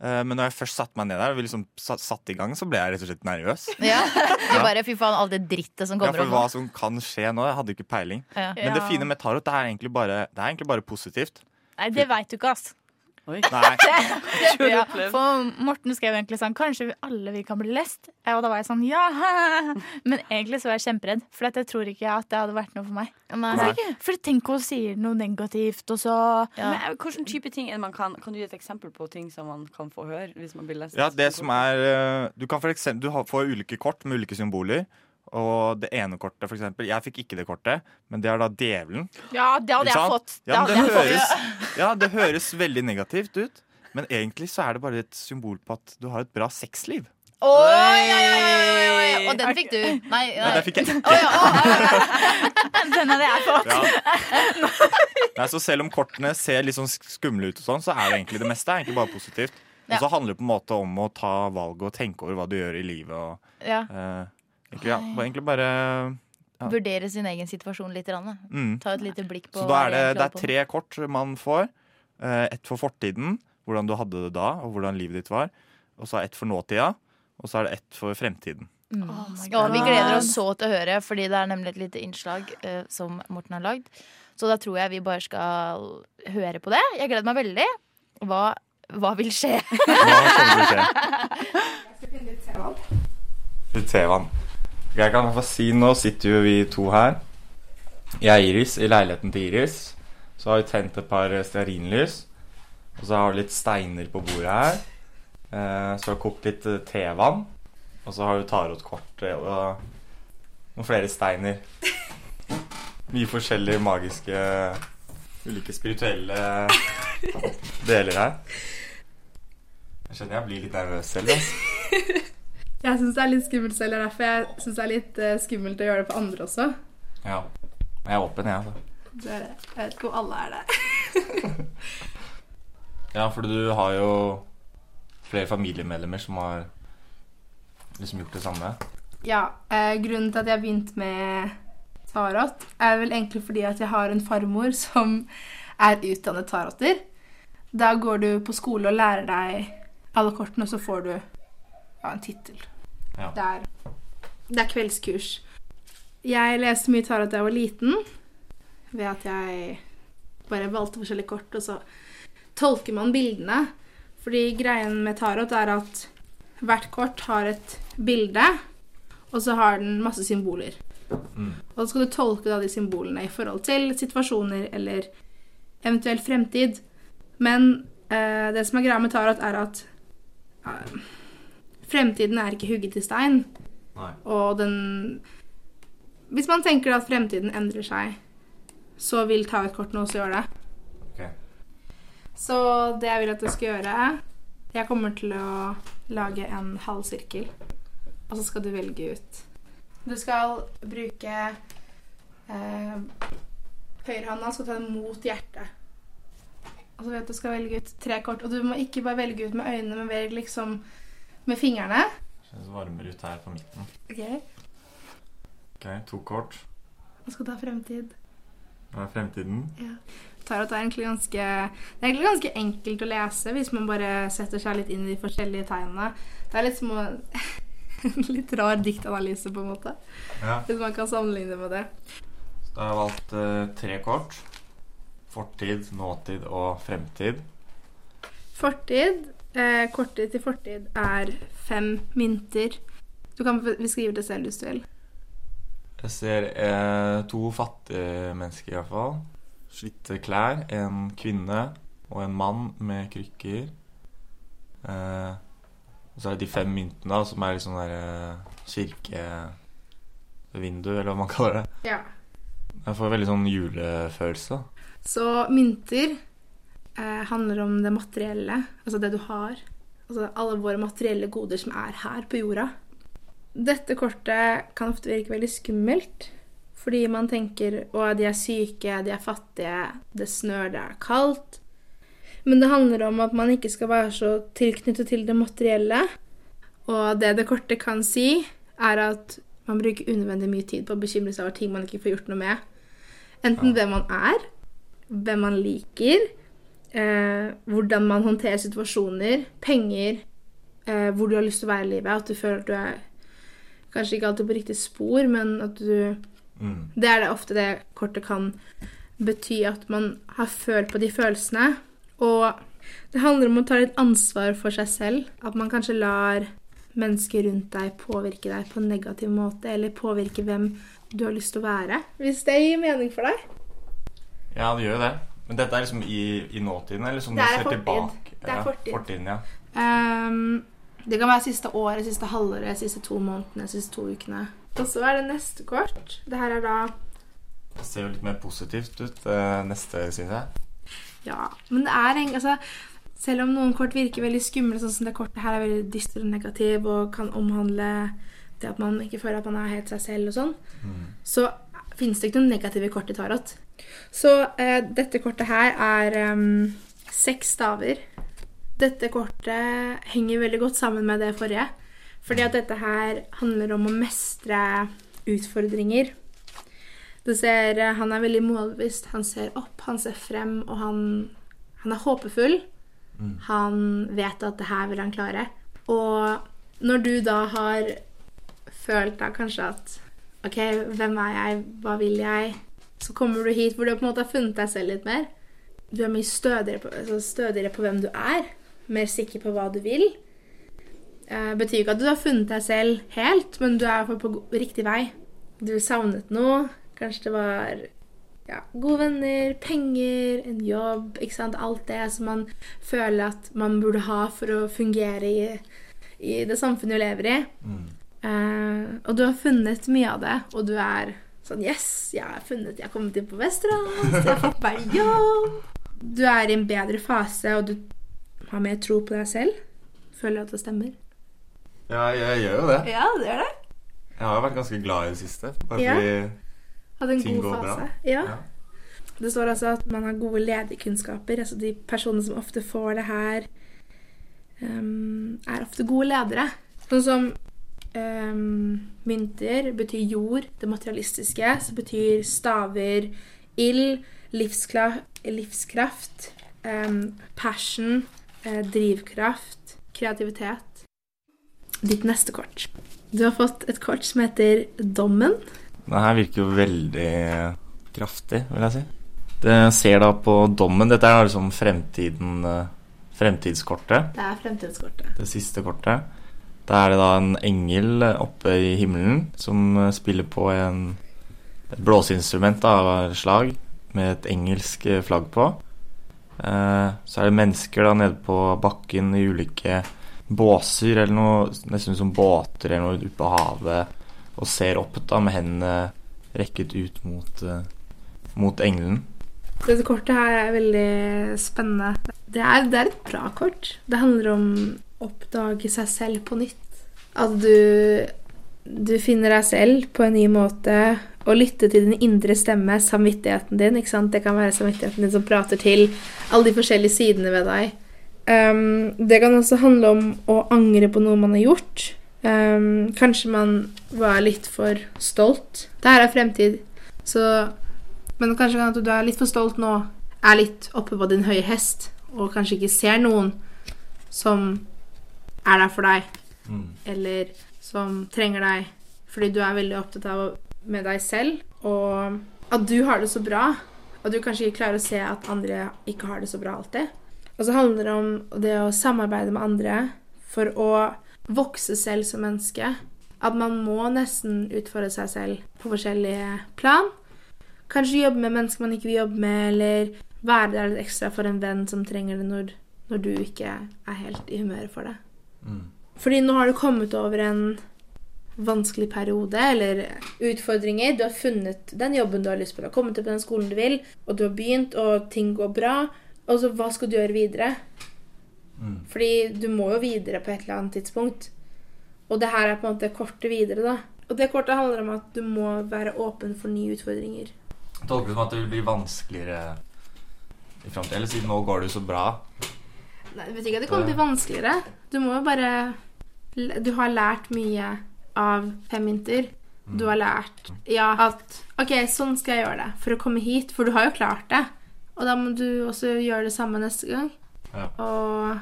Eh, Men når jeg først satte meg ned der og vi liksom satt, satt i gang, så ble jeg rett og slett nervøs.
Ja. Du
Ja.
bare fy faen, all det drittet som
Ja,
kommer
for
opp
hva
nå.
som kan skje nå, jeg hadde ikke peiling.
Ja.
Men det
Ja.
fine med tarot, det er egentlig bare, det er egentlig bare positivt.
Nei, det veit du ikke, ass.
Nei.
Ja, for Morten skrev egentlig sånn Kanskje alle vi kan bli lest? Ja, Og da var jeg sånn ja! Men egentlig så var jeg kjemperedd, for at jeg tror ikke at det hadde vært noe for meg.
Nei.
For tenk om hun sier noe negativt, og så
Men, eh, Hvilken type ting er det man kan Kan du gi et eksempel på ting som man kan få høre hvis man blir lest?
Ja, det som er eh, Du kan for eksempel, du har- får ulike kort med ulike symboler. Og det ene kortet, for eksempel. Jeg fikk ikke det kortet, men det er da djevelen.
Ja, det hadde
Ikke
jeg
sant?
fått.
Ja,
Det
men det,
hadde jeg
høres,
fått.
ja, det høres veldig negativt ut. Men egentlig så er det bare et symbol på at du har et bra sexliv.
Oi, oi, oi, oi, oi. Og den fikk du. Nei,
Nei, der fikk jeg ikke.
Den hadde jeg fått.
Nei, så selv om kortene ser litt sånn sk- skumle ut, og sånn, så er det egentlig det meste er egentlig bare positivt.
Ja.
Og så handler det på en måte om å ta valg og tenke over hva du gjør i livet. Og,
Ja.
eh, egentlig, ja, bare- egentlig bare ja.
Vurdere sin egen situasjon litt. Ranne.
Mm.
Ta et lite blikk på
Så da er det,
hva jeg
det
klarer
er
på
tre kort man får. Eh, Ett for fortiden, hvordan du hadde det da, og hvordan livet ditt var. Og så er ett for nåtida, og så er det ett for fremtiden.
nå. Mm.
my
Ja, vi
God.
gleder oss så til å høre, fordi det er nemlig et lite innslag eh, som Morten har lagd. Så da tror jeg vi bare skal høre på det. Jeg gleder meg veldig. Hva, hva vil skje?
Tevan. Jeg kan i hvert fall si nå sitter jo vi to her. Jeg er Iris i leiligheten til Iris. Så har vi tent et par stearinlys. Og så har vi litt steiner på bordet her. Eh, Så har vi kokt litt eh, tevann. Og så har vi tarotkort eh, og noen flere steiner. Mye forskjellige magiske Ulike spirituelle deler her. Jeg skjønner jeg blir litt nervøs selv. Altså.
Jeg syns det er litt skummelt selv, og derfor jeg synes det er litt eh, skummelt å gjøre det på andre også.
Ja. Jeg er åpen, jeg, altså.
Det er, jeg vet ikke om alle er det.
Ja, for du har jo flere familiemedlemmer som har liksom gjort det samme.
Ja, eh, Grunnen til at jeg begynte med tarot, er vel egentlig fordi at jeg har en farmor som er utdannet taroter. Da går du på skole og lærer deg alle kortene, og så får du ja, en tittel.
Ja.
Det, er- det er kveldskurs. Jeg leste mye tarot da jeg var liten, ved at jeg bare valgte forskjellige kort, og så tolker man bildene. Fordi greien med tarot er at hvert kort har et bilde, Og så har den masse symboler.
Mm.
Og så skal du tolke da de symbolene i forhold til situasjoner eller eventuell fremtid. Men eh, det som er greia med tarot, er at eh, fremtiden er ikke hugget i stein. Og den Hvis man tenker at fremtiden endrer seg, så vil tarotkortene også gjøre det. Så det jeg vil at jeg skal gjøre Jeg kommer til å lage en halv sirkel, og så skal du velge ut. Du skal bruke eh, høyrehånda skal ta den mot hjertet. Og så vet du du skal velge ut tre kort. Og du må ikke bare velge ut med øynene, men velg liksom med fingrene.
Kjennes varmere ut her på midten.
Ok,
Ok, To kort.
Nå skal du ha fremtid.
Hva er fremtiden?
Ja. Tarot er egentlig ganske, det er egentlig ganske enkelt å lese hvis man bare setter seg litt inn i de forskjellige tegnene. Det er litt som å en litt rar diktanalyse, på en måte.
Ja.
Hvis man kan sammenligne med det.
Så da har jeg valgt eh, tre kort. Fortid, nåtid og fremtid.
Fortid. Eh, kortet til fortid er fem mynter. Du kan beskrive det selv hvis du vil.
Jeg ser eh, to fattige mennesker iallfall. Slitte klær. En kvinne og en mann med krykker. Eh, og så er det de fem myntene, da, som er litt sånn der eh, kirkevindu, eller hva man kaller det.
Ja.
Jeg får veldig sånn julefølelse. da.
Så mynter eh, handler om det materielle, altså det du har. Altså alle våre materielle goder som er her på jorda. Dette kortet kan ofte virke veldig skummelt, fordi man tenker å, de er syke, de er fattige, det snør, det er kaldt. Men det handler om at man ikke skal være så tilknyttet til det materielle. Og det det kortet kan si, er at man bruker unødvendig mye tid på å bekymre seg over ting man ikke får gjort noe med. Enten hvem man er, hvem man liker, eh, hvordan man håndterer situasjoner, penger, eh, hvor du har lyst til å være i livet. At du føler at du er kanskje ikke alltid på riktig spor, men at du
Mm.
Det er det ofte det kortet kan bety, at man har følt på de følelsene. Og det handler om å ta litt ansvar for seg selv. At man kanskje lar mennesker rundt deg påvirke deg på en negativ måte, eller påvirke hvem du har lyst til å være. Hvis det gir mening for deg.
Ja, det gjør jo det. Men dette er liksom i, i nåtiden? Eller som
Det
du
er
ser
fortid.
tilbake?
Det er
Ja,
fortid.
Fortiden, ja.
Ehm, det kan være siste året, siste halvåret, siste to månedene, siste to ukene. Og så er det neste kort. Det her er da
Det ser jo litt mer positivt ut eh, neste, syns jeg.
Ja, men det er en, altså, Selv om noen kort virker veldig skumle, sånn som det kortet her er veldig dyster og negativ og kan omhandle det at man ikke føler at man er helt seg selv og sånn, så finnes det ikke noen negative kort i tarot. Så eh, dette kortet her er em, seks staver. Dette kortet henger veldig godt sammen med det forrige. Fordi at dette her handler om å mestre utfordringer. Du ser eh, han er veldig målbevisst. Han ser opp, han ser frem, og han, han er håpefull. Han vet at det her vil han klare. Og når du da har følt da kanskje at OK, hvem er jeg, hva vil jeg? Så kommer du hit hvor du på en måte har funnet deg selv litt mer. Du er mye stødigere på, altså stødigere på hvem du er. Mer sikker på hva du vil. Eh, betyr ikke at du har funnet deg selv helt, men du er i hvert fall på go- riktig vei. Du savnet noe. Kanskje det var ja, gode venner, penger, en jobb. ikke sant? Alt det som man føler at man burde ha for å fungere i, i det samfunnet vi lever i. Eh, og du har funnet mye av det, og du er sånn Yes, jeg har funnet Jeg har kommet inn på Vesterålen, jeg har fått meg jobb. Du er i en bedre fase, og du har mer tro på deg selv. Føler at det stemmer.
Ja, jeg gjør jo det.
Ja, det gjør det.
Jeg har jo vært ganske glad i det siste. Bare
Ja.
fordi
Hadde en
ting
god
går
fase.
bra.
Ja. Det står altså at man har gode lederkunnskaper. Altså de personene som ofte får det her, ehm, er ofte gode ledere. Sånn som ehm, mynter betyr jord, det materialistiske, så betyr staver ild, livskla livskraft, ehm, passion, eh, drivkraft, kreativitet. Ditt neste kort. Du har fått et kort som heter Dommen.
Det her virker jo veldig kraftig, vil jeg si. Det ser da på dommen Dette er da liksom fremtiden eh, Fremtidskortet.
Det er fremtidskortet.
Det siste kortet. Da er det da en engel oppe i himmelen som eh, spiller på en, et blåseinstrument da, av slag med et engelsk eh, flagg på. Eh, Så er det mennesker da nede på bakken i ulike båser eller noe, nesten som båter eller noe ute på havet, og ser opp da med hendene rekket ut mot, eh, mot engelen.
Dette kortet her er veldig spennende. Det er, det er et bra kort. Det handler om å oppdage seg selv på nytt. At du, du finner deg selv på en ny måte. Og lytte til din indre stemme, samvittigheten din. ikke sant? Det kan være samvittigheten din som prater til alle de forskjellige sidene ved deg. Ehm, det kan også handle om å angre på noe man har gjort. Ehm, kanskje man var litt for stolt. Det her er fremtid. Så men kanskje kan at du er litt for stolt nå, er litt oppe på din høye hest, og kanskje ikke ser noen som er der for deg, eller som trenger deg, fordi du er veldig opptatt av å- med deg selv, og at du har det så bra, og du kanskje ikke klarer å se at andre ikke har det så bra alltid. Og så handler det om det å samarbeide med andre for å vokse selv som menneske. At man må nesten utfordre seg selv på forskjellige plan. Kanskje jobbe med mennesker man ikke vil jobbe med, eller være der litt ekstra for en venn som trenger det når, når du ikke er helt i humøret for det. Fordi nå har du kommet over en vanskelig periode eller utfordringer. Du har funnet den jobben du har lyst på. Du har kommet til på den skolen du vil, og du har begynt, og ting går bra. Og så hva skal du gjøre videre? Fordi du må jo videre på et eller annet tidspunkt. Og det her er på en måte kortet videre, da. Og det kortet handler om at du må være åpen for nye utfordringer.
Tolker det som at det vil bli vanskeligere i fremtiden? Eller siden nå går det jo så bra.
Nei, Det betyr ikke at det kommer til å bli vanskeligere. Du må jo bare l- Du har lært mye av fem minter.
Mm.
Du har lært ja, at OK, sånn skal jeg gjøre det for å komme hit. For du har jo klart det. Og da må du også gjøre det samme neste gang.
Ja.
Og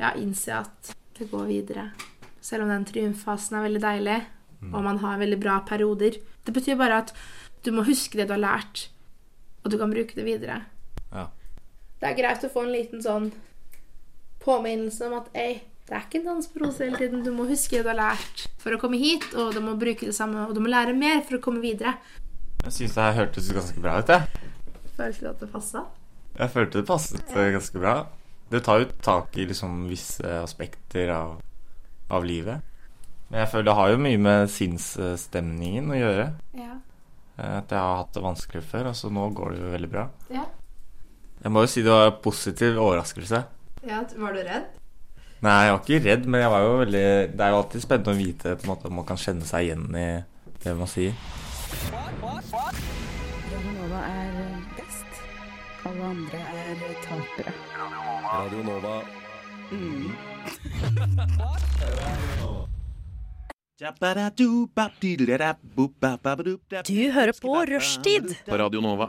ja, innse at det går videre. Selv om den triumffasen er veldig deilig,
Mm.
og man har veldig bra perioder. Det betyr bare at du må huske det du har lært, og du kan bruke det videre.
Ja.
Det er greit å få en liten sånn påminnelse om at ei, det er ikke en dans på roser hele tiden. Du må huske det du har lært for å komme hit, og du må bruke det samme, og du må lære mer for å komme videre.
Jeg syns det her hørtes ganske bra ut, jeg.
Følte du at det passa?
Jeg følte det passet eh, ganske bra. Det tar jo tak i liksom visse aspekter av, av livet. Men jeg føler det har jo mye med sinnsstemningen å gjøre.
Ja.
Eh, At jeg har hatt det vanskelig før, og så nå går det jo veldig bra.
Ja.
Jeg må jo si det var en positiv overraskelse.
Var du redd?
Nei, jeg var ikke redd, men jeg var jo veldig Det er jo alltid spennende å vite på en måte om man kan kjenne seg igjen i det man sier.
Radionova er eh, best. Alle andre er eh, tapere.
Radio Nova.
Du hører på Rushtid.
På Radio Nova.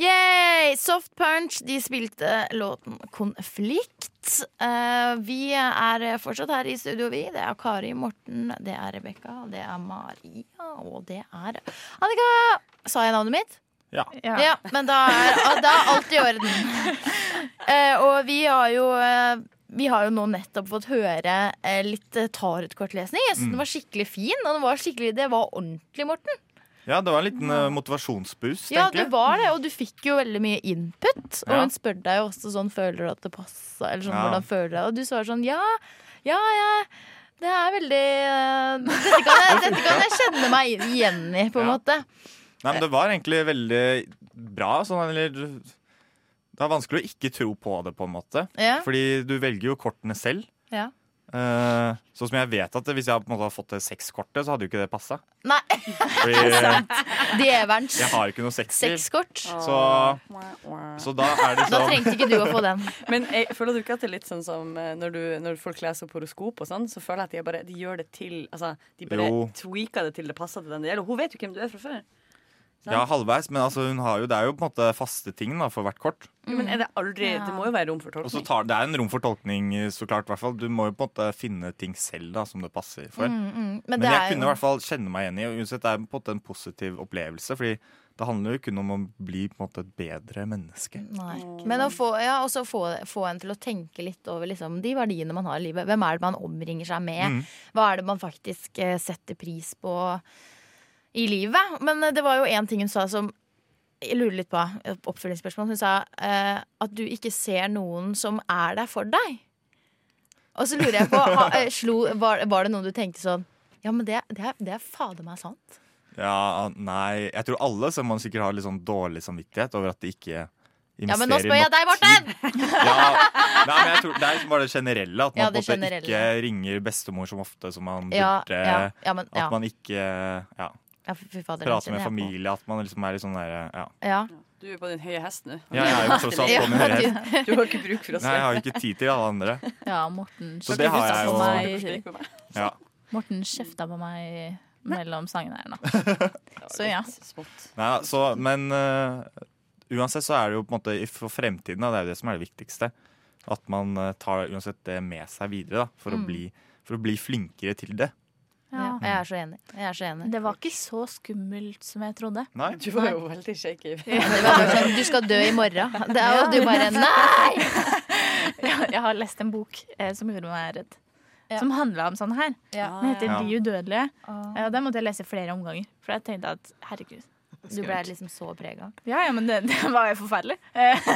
Yay! Soft Punch de spilte låten Konflikt. Eh, vi er fortsatt her i studio, vi. Det er Kari Morten, det er Rebekka, det er Maria, og det er Annika! Sa jeg navnet mitt?
Ja.
Ja, men da er, da er alt i orden. Eh, og vi har jo eh, vi har jo nå nettopp fått høre eh, litt eh, tarotkortlesning. Jeg synes
Mm.
den var skikkelig fin, og den var skikkelig, det var ordentlig, Morten.
Ja, det var en liten eh, motivasjonsboost,
Ja, det
egentlig.
var det, og du fikk jo veldig mye input. Og
Ja.
hun spør deg jo også sånn Føler du at det passer, eller sånn
Ja.
hvordan føler du deg? Og du svarer sånn ja, ja, ja. Det er veldig eh, dette, kan jeg, dette kan jeg kjenne meg igjen i, på en måte.
Nei,
Eh.
men det var egentlig veldig bra. Sånn, eller du- Det er vanskelig å ikke tro på det, på en måte.
Ja.
Fordi du velger jo kortene selv.
Ja.
Eh, sånn som jeg vet at Hvis jeg på en måte hadde fått det sexkortet, så hadde jo ikke det passa.
Nei,
Fordi
djevelens
jeg har jo ikke noe sexliv.
sexkort.
Så, så da er det
Da
sånn
trengte ikke du å få den.
Men jeg føler du ikke at det er litt sånn som eh, når, du, når folk leser opp horoskop og sånn, så føler jeg at de bare de gjør det til Altså, de bare
Jo.
tweaker det til det passer til den det gjelder. Og Hun vet jo hvem du er fra før. Sant?
Ja, halvveis, men altså, hun har jo, det er jo på en måte faste ting da, for hvert kort.
Jo,
Mm.
Men er det aldri Det må jo være rom for
Og så
tolkning.
tar, Det er en rom for tolkning, så klart. i hvert fall Du må jo på en måte finne ting selv da som det passer for.
Mm, mm. Men
Men,
det
jeg
er jo-
kunne i hvert fall kjenne meg igjen i og uansett, det er på en måte en positiv opplevelse. Fordi Det handler jo kun om å bli på en måte et bedre menneske.
Mm. Men å få, ja, også få, få en til å tenke litt over liksom, de verdiene man har i livet. Hvem er det man omringer seg med?
Mm.
Hva er det man faktisk eh, setter pris på i livet? Men eh, det var jo én ting hun sa som jeg lurer litt på. et Oppfølgingsspørsmål. Hun sa eh, at du ikke ser noen som er der for deg. Og så lurer jeg på ha, eh, slo, var, var det noen du tenkte sånn Ja, men det, det, er- det er fader meg sant.
Ja, nei Jeg tror alle som man sikkert har litt sånn dårlig samvittighet over at de ikke
Ja, men nå
investerer
spør jeg
nok
deg, Morten!
Nei, men jeg tror Det er liksom bare det generelle. At man
Ja,
på en
det
måte
generelle.
ikke ringer bestemor så ofte som man
Ja,
burde.
ja, ja, men- ja.
eh, At man ikke ja,
Ja, fy fader, den
prater
kjenner
med
jeg på.
familie. At man liksom er litt sånn derre ja.
Ja.
Du er på din høye hest nå.
Ja, jeg er jo tross alt på min høye hest.
Du har ikke bruk for oss.
Nei, jeg har jo ikke tid til alle andre.
Ja, Morten
Så det har jeg
kjefta
jo.
på meg.
Ja.
Morten kjefta på meg mellom sangene her nå. Så ja.
Nei, da, så, men eh, uansett så er det jo på en måte i- for fremtiden, da, det er jo det som er det viktigste. At man eh, tar uansett det med seg videre da, for,
Mm.
å bli, for å bli flinkere til det.
Ja. Jeg er så enig. Jeg er så enig.
Det var ikke så skummelt som jeg trodde.
Nei.
Du var jo veldig shaky.
Ja, det var bare sånn, du skal dø i morgen. Det er jo du bare nei!
Jeg, jeg har lest en bok eh, som gjorde meg redd. Som handla om sånn her. Den heter
Ja.
De udødelige. Eh, og den måtte jeg lese flere omganger. For jeg tenkte at herregud.
Du ble liksom så prega.
Ja, ja, men det, det var jo forferdelig. Eh,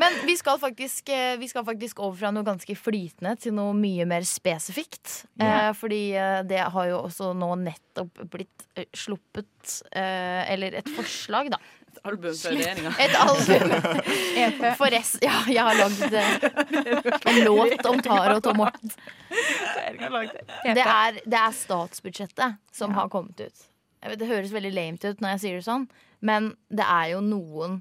Men vi skal, faktisk, eh, vi skal faktisk over fra noe ganske flytende til noe mye mer spesifikt.
Ja.
Eh, fordi eh, det har jo også nå nettopp blitt eh, sluppet eh, Eller et forslag, da. Et
album
fra regjeringen.
Et album. For rest, ja, jeg har lagd eh, en låt om Taro og Tom Morten. Det er, det er statsbudsjettet som har kommet ut. Jeg vet, Det høres veldig lame ut når jeg sier det sånn, men det er jo noen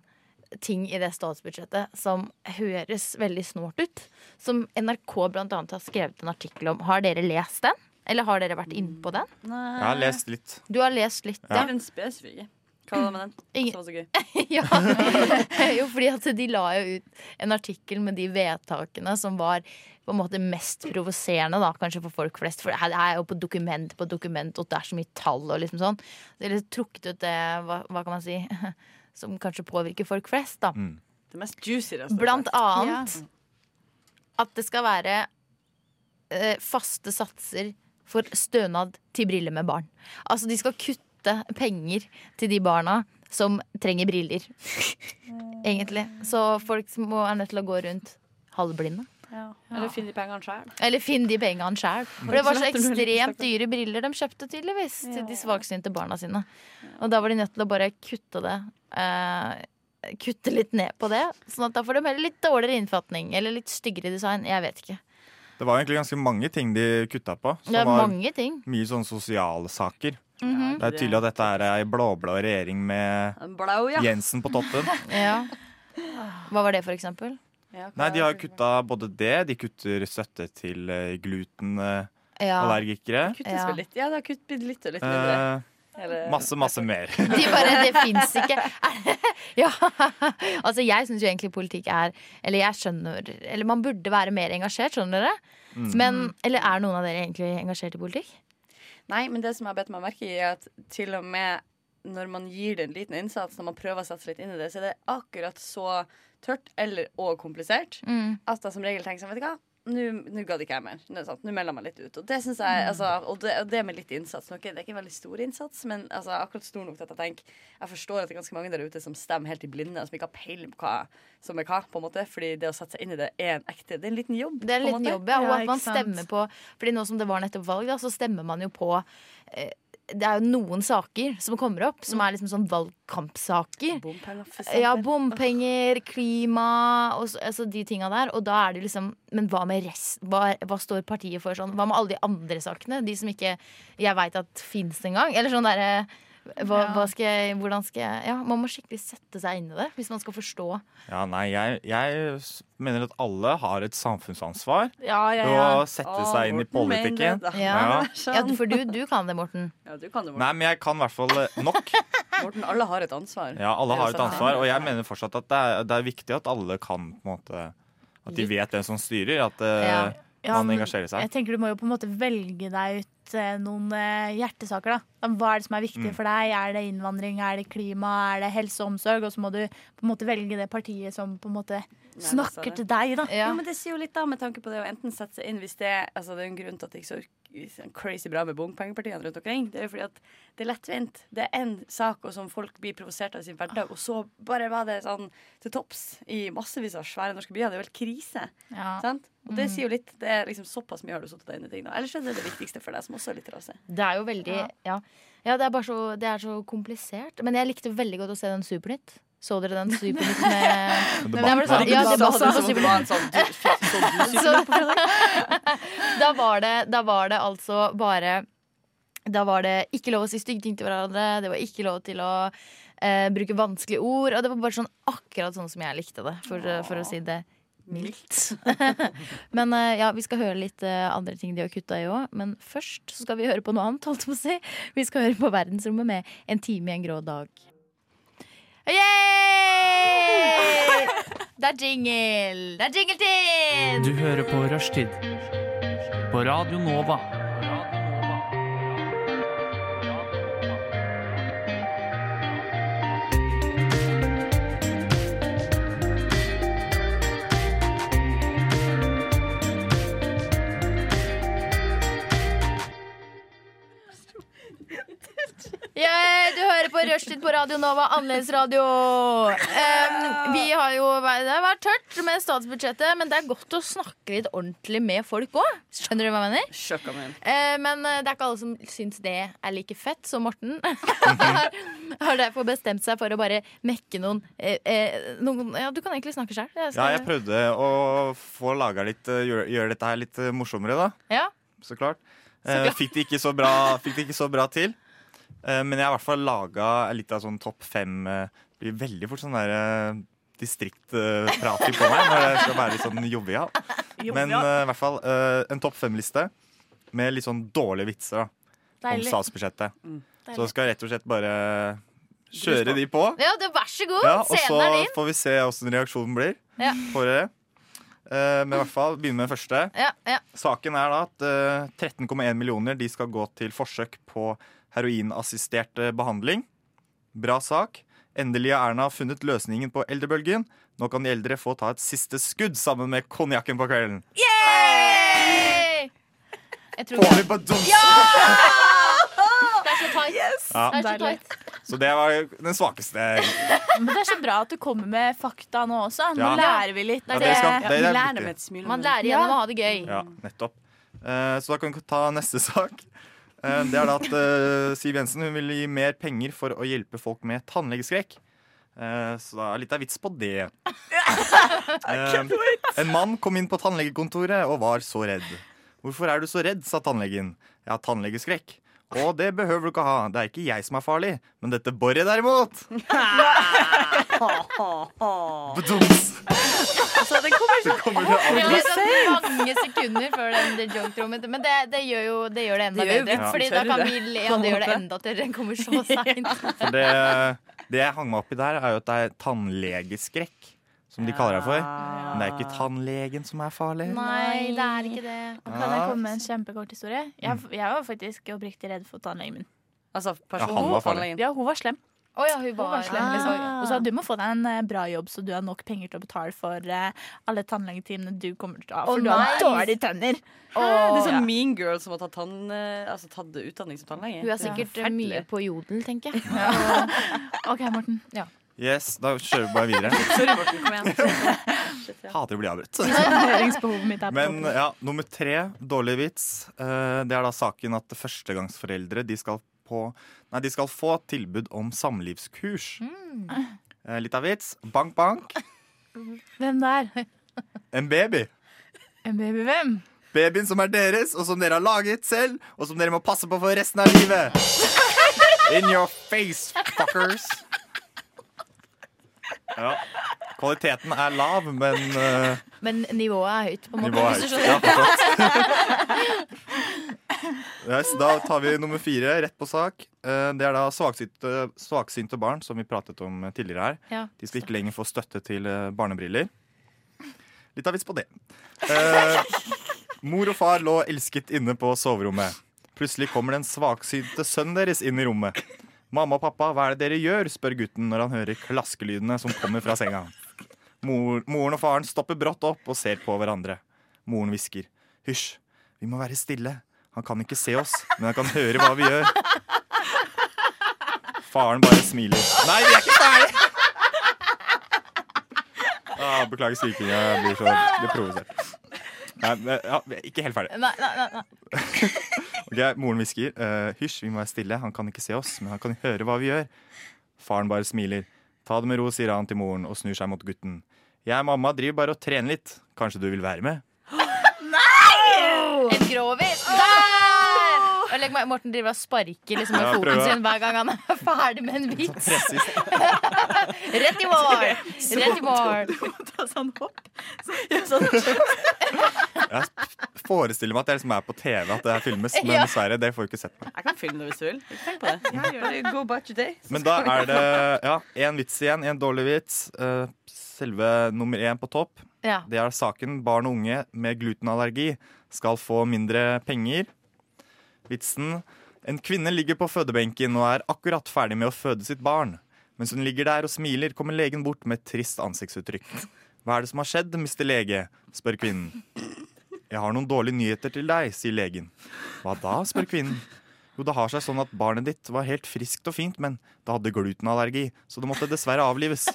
ting i det statsbudsjettet som høres veldig snålt ut. Som NRK blant annet har skrevet en artikkel om. Har dere lest den? Eller har dere vært innpå den?
Jeg
Ah.
har lest litt.
Du har lest litt,
Ja.
ja.
Den spesifikke. Hva var det med den?
Ingen-
Som var så gøy.
ja. Jo, fordi at de la jo ut en artikkel med de vedtakene som var på en måte mest provoserende, da, kanskje for folk flest. For det her er jo på dokument på dokument, og det er så mye tall og liksom sånn. Det er litt trukket ut det, hva, hva kan man si, som kanskje påvirker folk flest, da.
Mm.
Det mest juicy. det står
Blant
sagt.
annet at det skal være eh, faste satser for stønad til briller med barn. Altså de skal kutte penger til de barna som trenger briller. Egentlig. Så folk som må, er nødt til å gå rundt halvblinde.
Ja. Eller finn de pengene sjøl.
Eller finn de pengene sjæl. For Mm. det var så ekstremt dyre briller de kjøpte, tydeligvis, til de svaksynte barna sine. Og da var de nødt til å bare kutte det. eh, kutte litt ned på det. Sånn at da får de heller litt dårligere innfatning. Eller litt styggere design. Jeg vet ikke.
Det var egentlig ganske mange ting de kutta på. som
Det er
var
mange ting.
Mye sånne sosiale saker.
Mhm.
Det er tydelig at dette her er ei blå-blå regjering med
Blau, ja.
Jensen på toppen.
Ja. Hva var det, for eksempel?
Nei, de har kutta både det, de kutter støtte til eh,
Ja.
glutenallergikere.
Kuttes vel litt. Ja, det har kutt bitte litt og litt
Eh,
mindre. Eller-
masse, masse mer.
De bare, Det fins ikke. Er- Ja. Altså, jeg syns jo egentlig politikk er Eller jeg skjønner Eller man burde være mer engasjert, skjønner dere?
Mm.
Men Eller er noen av dere egentlig engasjert i politikk?
Nei, men det som jeg har bedt meg merke i, er at til og med når man gir det en liten innsats, når man prøver å sette seg litt inn i det, så er det akkurat så tørt eller og komplisert
Mm.
at jeg som regel tenker sånn, vet du hva, nå nå gadd ikke jeg mer. Nå, er det sant, nå melder jeg meg litt ut. Og det synes jeg,
Mm.
altså, og det, og det med litt innsats. Nå, ok, det er ikke en veldig stor innsats, men altså, akkurat stor nok til at jeg tenker Jeg forstår at det er ganske mange der ute som stemmer helt i blinde, som ikke har peiling på hva som er hva, på en måte. Fordi det å sette seg inn i det er en ekte Det er en liten jobb.
Det er en
på en
liten
måte.
jobb, ja. Og at man stemmer på Fordi nå som det var nettopp valg, da, så stemmer man jo på eh, Det er jo noen saker som kommer opp, som er liksom sånn valgkampsaker.
Bompenger, for
Ja,
eksempel.
bompenger, klima og så, altså de tinga der. Og da er det jo liksom Men hva med rest? Hva, hva står partiet for sånn? Hva med alle de andre sakene? De som ikke jeg veit at fins engang? Eller sånn derre hva,
Ja.
hva skal jeg, hvordan skal jeg Ja, man må skikkelig sette seg inn i det hvis man skal forstå.
Ja, nei, jeg, jeg s- mener at alle har et samfunnsansvar.
Ja, ja,
til
ja.
Å sette seg inn i politikken. Ja.
Ja. ja, for du, du kan det, Morten.
Ja, du kan det,
Nei, men jeg kan i hvert fall eh, nok.
Morten, alle har et ansvar.
Ja, alle
Det er
har
jo
et
sånn.
ansvar, og jeg mener fortsatt at det er, det er viktig at alle kan på en måte At de vet hvem som styrer. At eh,
Ja.
Ja,
man
men
engasjerer
Jeg
seg.
tenker Du må jo på en måte velge deg ut eh, noen eh, hjertesaker. da. Da, Hva er det som er viktig
Mm.
for deg? Er det innvandring, er det klima, er det helse og omsorg? Og så må du på en måte velge det partiet som på en måte snakker til deg. da.
Jo, men det sier jo litt da med tanke på det å enten sette seg inn hvis det altså Det er jo en grunn til at det ikke er så sånn crazy bra med bompengepartiene rundt omkring. Det er jo fordi at det er lettvint. Det er én sak og som folk blir provosert av i sin hverdag, og så bare var det sånn til topps i massevis av svære norske byer. Det er jo helt krise.
Ja.
Sant? Og det
Mm.
sier jo litt Det er liksom såpass mye har du sittet deg inn i ting nå. Ellers er det det viktigste for deg, som også er litt rase.
Det er jo veldig Ja,
Ja.
ja. det er bare så, det er så komplisert. Men jeg likte veldig godt å se den Supernytt. Så dere den Supernytt med
Debatten.
Nei, men det var sånn- Ja,
liksom
Debatten.
debatten på
Som det var en sånn,
Supernytt.
du-
Så- da, var det, da var det altså bare Da var det ikke lov å si stygge ting til hverandre. Det var ikke lov til å eh, bruke vanskelige ord. Og det var bare sånn akkurat sånn som jeg likte det, for, eh, for å si det mildt. men eh, ja, vi skal høre litt eh, andre ting de har kutta i òg. Men først så skal vi høre på noe annet, holdt jeg på å si. Vi skal høre på Verdensrommet med En time i en grå dag. Yay! Det er jingle! Det er jingletid!
Du hører på Rushtid på Radio Nova.
Yeah, du hører på Rushtid på Radio Nova, annerledes radio. Em, vi har jo, det har vært tørt med statsbudsjettet, men det er godt å snakke litt ordentlig med folk òg. Skjønner du hva jeg mener?
Sjøkka mi.
Eh, men eh, det er ikke alle som syns det er like fett som Morten. har, har derfor bestemt seg for å bare mekke noen, eh, eh, noen Ja, du kan egentlig snakke sjøl.
Ja, jeg prøvde å få laga litt eh, gjøre, gjøre dette her litt eh, morsommere, da.
Ja.
Så klart.
Så
Eh,
klart.
fikk, det ikke så bra, fikk det ikke så bra til. Eh, men jeg har i hvert fall laga litt av sånn topp fem eh, Blir veldig fort sånn der eh, distriktprating på meg når jeg skal være litt sånn jovial. Men eh, i hvert fall eh, en topp fem-liste med litt sånn dårlige vitser da, om
Deilig.
statsbudsjettet.
Mm.
Så
Deilig.
skal jeg rett og slett bare kjøre de på.
Ja, det, vær så god.
Ja, og
Scenen er
så
din.
får vi se åssen reaksjonen blir.
Ja.
Får dere. Eh, Men i hvert fall, begynne med den første.
Ja, ja.
Saken er da at eh, 13,1 millioner de skal gå til forsøk på heroinassistert eh, behandling. Bra sak. Endelig har Erna funnet løsningen på eldrebølgen. Nå kan de eldre få ta et siste skudd sammen med konjakken på kvelden.
Yay! Jeg tror
Får vi på dos-
Ja! Det er så tight.
Ja.
Det er så tight.
Så det var jo den svakeste.
Men det er så bra at du kommer med fakta nå også. Nå
Ja.
lærer vi litt.
Ja, det skal- det er
vi
viktig.
Man lærer gjennom å ha det gøy.
Ja, nettopp. Eh, så da kan vi ta neste sak. Eh, det er da at eh, Siv Jensen hun vil gi mer penger for å hjelpe folk med tannlegeskrekk. Eh, så da er litt av vits på det. Eh, en mann kom inn på tannlegekontoret og var så redd. Hvorfor er du så redd, sa tannlegen. Jeg har tannlegeskrekk. Å, det behøver du ikke ha. Det er ikke jeg som er farlig, men dette boret derimot. Bedums.
Altså, den kommer
Det kommer til
Vi har
aldri.
tatt mange sekunder før den the joke trommet, men det, det gjør jo det, gjør det enda
Det gjør jo
bedre.
vitsen
Fordi da
tørre,
kan
det,
vi le
på
av
en
det gjør det
måte.
enda tørre. Den kommer så seint.
For det, det jeg hang meg opp i der, er jo at det er tannlegeskrekk, som de kaller det for. Men det er ikke tannlegen som er farlig.
Nei, det er ikke det. Og kan jeg
Ja. Mm.
komme med en kjempekort historie? Jeg, jeg var faktisk oppriktig redd for tannlegen min.
Altså,
personen Ja, han var på farlig. tannlegen?
Ja, hun var slem.
hun
var,
var-
slem liksom.
Ah.
Og sa du må få deg en eh, bra jobb, så du har nok penger til å betale for eh, alle tannlegetimene du kommer til å
Å,
ha. For du har
nei.
dårlige tenner.
Hæ? Det er
Ja.
sånn mean girl som har tatt, tann, eh, altså, tatt utdanning som tannlege.
Hun er sikkert eh, mye på jodel, tenker jeg.
OK, Morten. Ja.
Yes, da kjører vi bare videre.
Sorry, Morten. Kom igjen.
Hater å bli avbrutt.
Høringsbehovet mitt er på
Men ja, nummer tre, dårlig vits. Eh, Det er da saken at førstegangsforeldre de skal, på, nei, de skal få tilbud om samlivskurs. Eh, Litt av vits. Bank, bank.
Hvem der?
En baby.
En baby hvem?
Babyen som er deres, og som dere har laget selv, og som dere må passe på for resten av livet. In your face, fuckers. Ja. Kvaliteten er lav, men eh,
Men nivået er høyt, på en måte.
nivået er
hvis du
høyt.
skjønner.
Ja, forstått. yes, da tar vi nummer fire, rett på sak. Eh, det er da svaksynte, svaksynte barn, som vi pratet om eh, tidligere her.
Ja.
De skal ikke lenger få støtte til eh, barnebriller. Litt av vits på det. Eh, Mor og far lå elsket inne på soverommet. Plutselig kommer den svaksynte sønnen deres inn i rommet. Mamma og pappa, hva er det dere gjør? spør gutten når han hører klaskelydene som kommer fra senga. Mor, moren og faren stopper brått opp og ser på hverandre. Moren hvisker. Hysj, vi må være stille. Han kan ikke se oss, men han kan høre hva vi gjør. Faren bare smiler. Nei, vi er ikke ferdige! Ah, beklager skrikinga. Jeg blir så blir provosert. Nei, men, ja, vi er ikke helt ferdig.
Nei, nei, nei, nei.
Ok, Moren hvisker. eh, Hysj, vi må være stille. Han kan ikke se oss, men han kan høre hva vi gjør. Faren bare smiler. Ta det med ro, sier han til moren og snur seg mot gutten. Jeg og mamma driver bare og trener litt. Kanskje du vil være med?
Nei! En grovis. Der! Og legg meg, Morten driver og sparker liksom, med
Ja,
foten
prøver.
sin hver gang han er ferdig med en vits. Rett i vår! Rett i vår. sånn
sånn,
Jeg forestiller meg at det liksom er på TV at det her filmes, men
Ja.
dessverre, det får du ikke sett meg.
Jeg kan filme det hvis du vil. Ikke Tenk på det. Bare go about your day. så
Men da
skal vi-
er det ja, én vits igjen, én dårlig vits. Eh, Selve nummer én på topp,
Ja.
det er saken barn og unge med glutenallergi skal få mindre penger. Vitsen En kvinne ligger på fødebenken og er akkurat ferdig med å føde sitt barn. Mens hun ligger der og smiler, kommer legen bort med et trist ansiktsuttrykk. Hva er det som har skjedd, mister lege? spør kvinnen. Jeg har noen dårlige nyheter til deg, sier legen. Hva da, spør kvinnen. Jo, det har seg sånn at barnet ditt var helt friskt og fint, men det hadde glutenallergi, så det måtte dessverre avlives.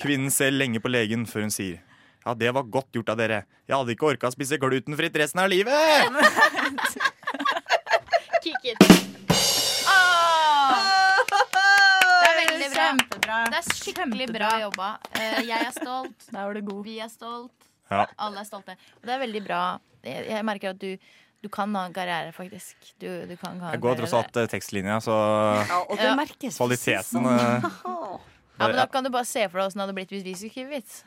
Kvinnen ser lenge på legen før hun sier ja, det var godt gjort av dere. Jeg hadde ikke orka å spise glutenfritt resten av livet!
Kick it. Åh! Ah! Det er veldig bra. Det er skikkelig bra jobba. Eh, Jeg er stolt. Vi er stolt.
Ja.
Alle er stolte. Og det er veldig bra. Jeg, jeg merker at du, du kan ha en karriere, faktisk. Du, du kan ha en
Jeg går tross alt eh, tekstlinja, så
og det Ja. merkes, for å si det
Kvaliteten
sånn.
eh,
Ja, men
det,
Da kan du bare se for deg åssen det hadde blitt hvis vi skulle skrive vits.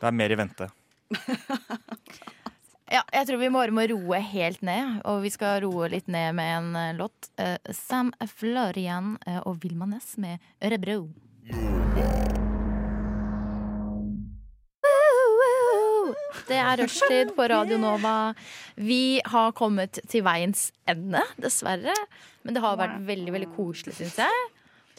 det er mer i vente.
Ja, jeg tror vi bare må roe helt ned, og vi skal roe litt ned med en eh, låt. Eh, Sam Florian eh, og Vilma Ness med Ørebro. Woo! Det er rushtid på Radio Nova. Vi har kommet til veiens ende, dessverre. Men det har vært veldig veldig koselig, syns jeg.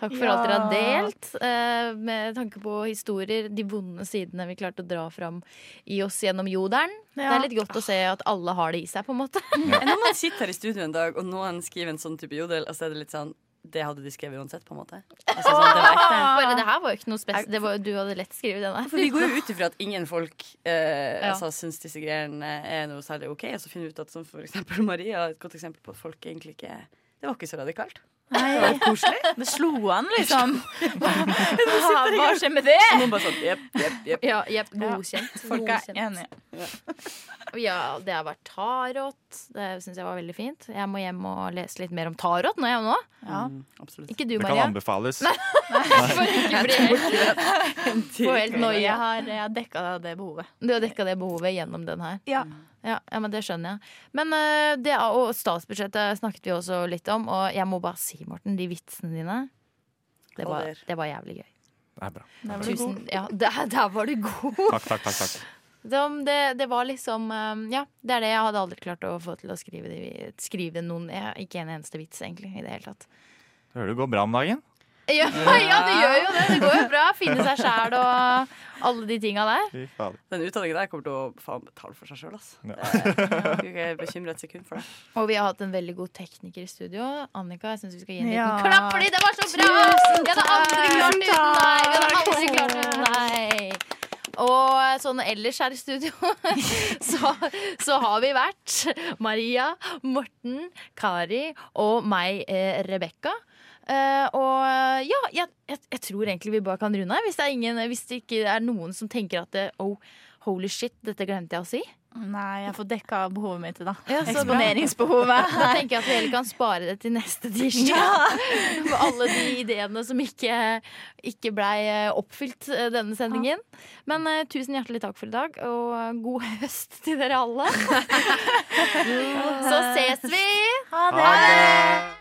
Takk for alt dere har
Ja.
delt. eh, Med tanke på historier, de vonde sidene vi klarte å dra fram i oss gjennom jodelen. Det
Ja.
er litt godt å se at alle har det i seg, på en måte.
Enn Når man sitter her i studio en dag, og noen skriver en sånn type jodel, og så er det litt sånn Det hadde de skrevet uansett, på en måte. Altså, sånn, det var ekte.
Bare det her var jo ikke noe spesielt. Du hadde lett skrevet den der.
For vi går jo ut ifra at ingen folk eh,
Ja.
altså, syns disse greiene er noe særlig OK, og så finner vi ut at som for eksempel Maria er et godt eksempel på at folk egentlig ikke Det var ikke så radikalt. Det var litt koselig.
Det slo an, liksom.
Hva
Hva
hva skjer med det?
Så noen bare sånn jepp, jepp, jepp.
Ja, jepp, godkjent.
Folk er
Godkjent.
enige.
Ja, det har vært tarot. Det syns jeg var veldig fint. Jeg må hjem og lese litt mer om tarot nå, jeg nå.
Mm, absolutt.
Ikke du,
Det kan
Maria.
anbefales.
For ikke bli helt Få helt noia.
Jeg har, jeg har dekka det behovet.
Du har dekka det behovet gjennom den her.
Ja.
Ja, ja, men Det skjønner jeg. Men eh, det og statsbudsjettet snakket vi også litt om. Og jeg må bare si, Morten, de vitsene dine Det var,
Holder.
det var jævlig gøy.
Det er bra.
var du
Tusen,
god.
ja, der, der var du god.
Takk, takk, takk. takk.
Det, det, det var liksom eh, Ja, det er det. Jeg hadde aldri klart å få til å skrive, de, skrive noen ja, Ikke en eneste vits, egentlig. I det hele tatt.
Hører det går bra om dagen?
Ja, ja, det gjør jo det. Det går jo bra. Finne seg sjæl og alle de tinga der.
Fy fader.
Den utdanningen der kommer til å faen betale for seg sjøl, altså. Det- Jeg er ikke bekymra et sekund for det.
Og vi har hatt en veldig god tekniker i studio. Annika, jeg syns vi skal gi en liten
Ja.
klapp fordi det var så bra!
Tusen
Vi hadde aldri klart det uten deg! Vi hadde aldri klart det uten deg. Og sånn ellers her i studio så, så har vi vært Maria, Morten, Kari og meg, eh, Rebekka. Eh, og ja, jeg, jeg, jeg tror egentlig vi bare kan runde her. Hvis det, er ingen, hvis det ikke er noen som tenker at det, oh, holy shit, dette glemte jeg å si.
Nei, jeg får dekka behovet mitt i dag.
Ja, så bra.
Eksponeringsbehovet.
Da tenker jeg at vi heller kan spare det til neste tirsdag.
Ja.
For alle de ideene som ikke, ikke blei oppfylt eh, denne sendingen. Men eh, tusen hjertelig takk for i dag, og god høst til dere alle. Så ses vi!
Ha det!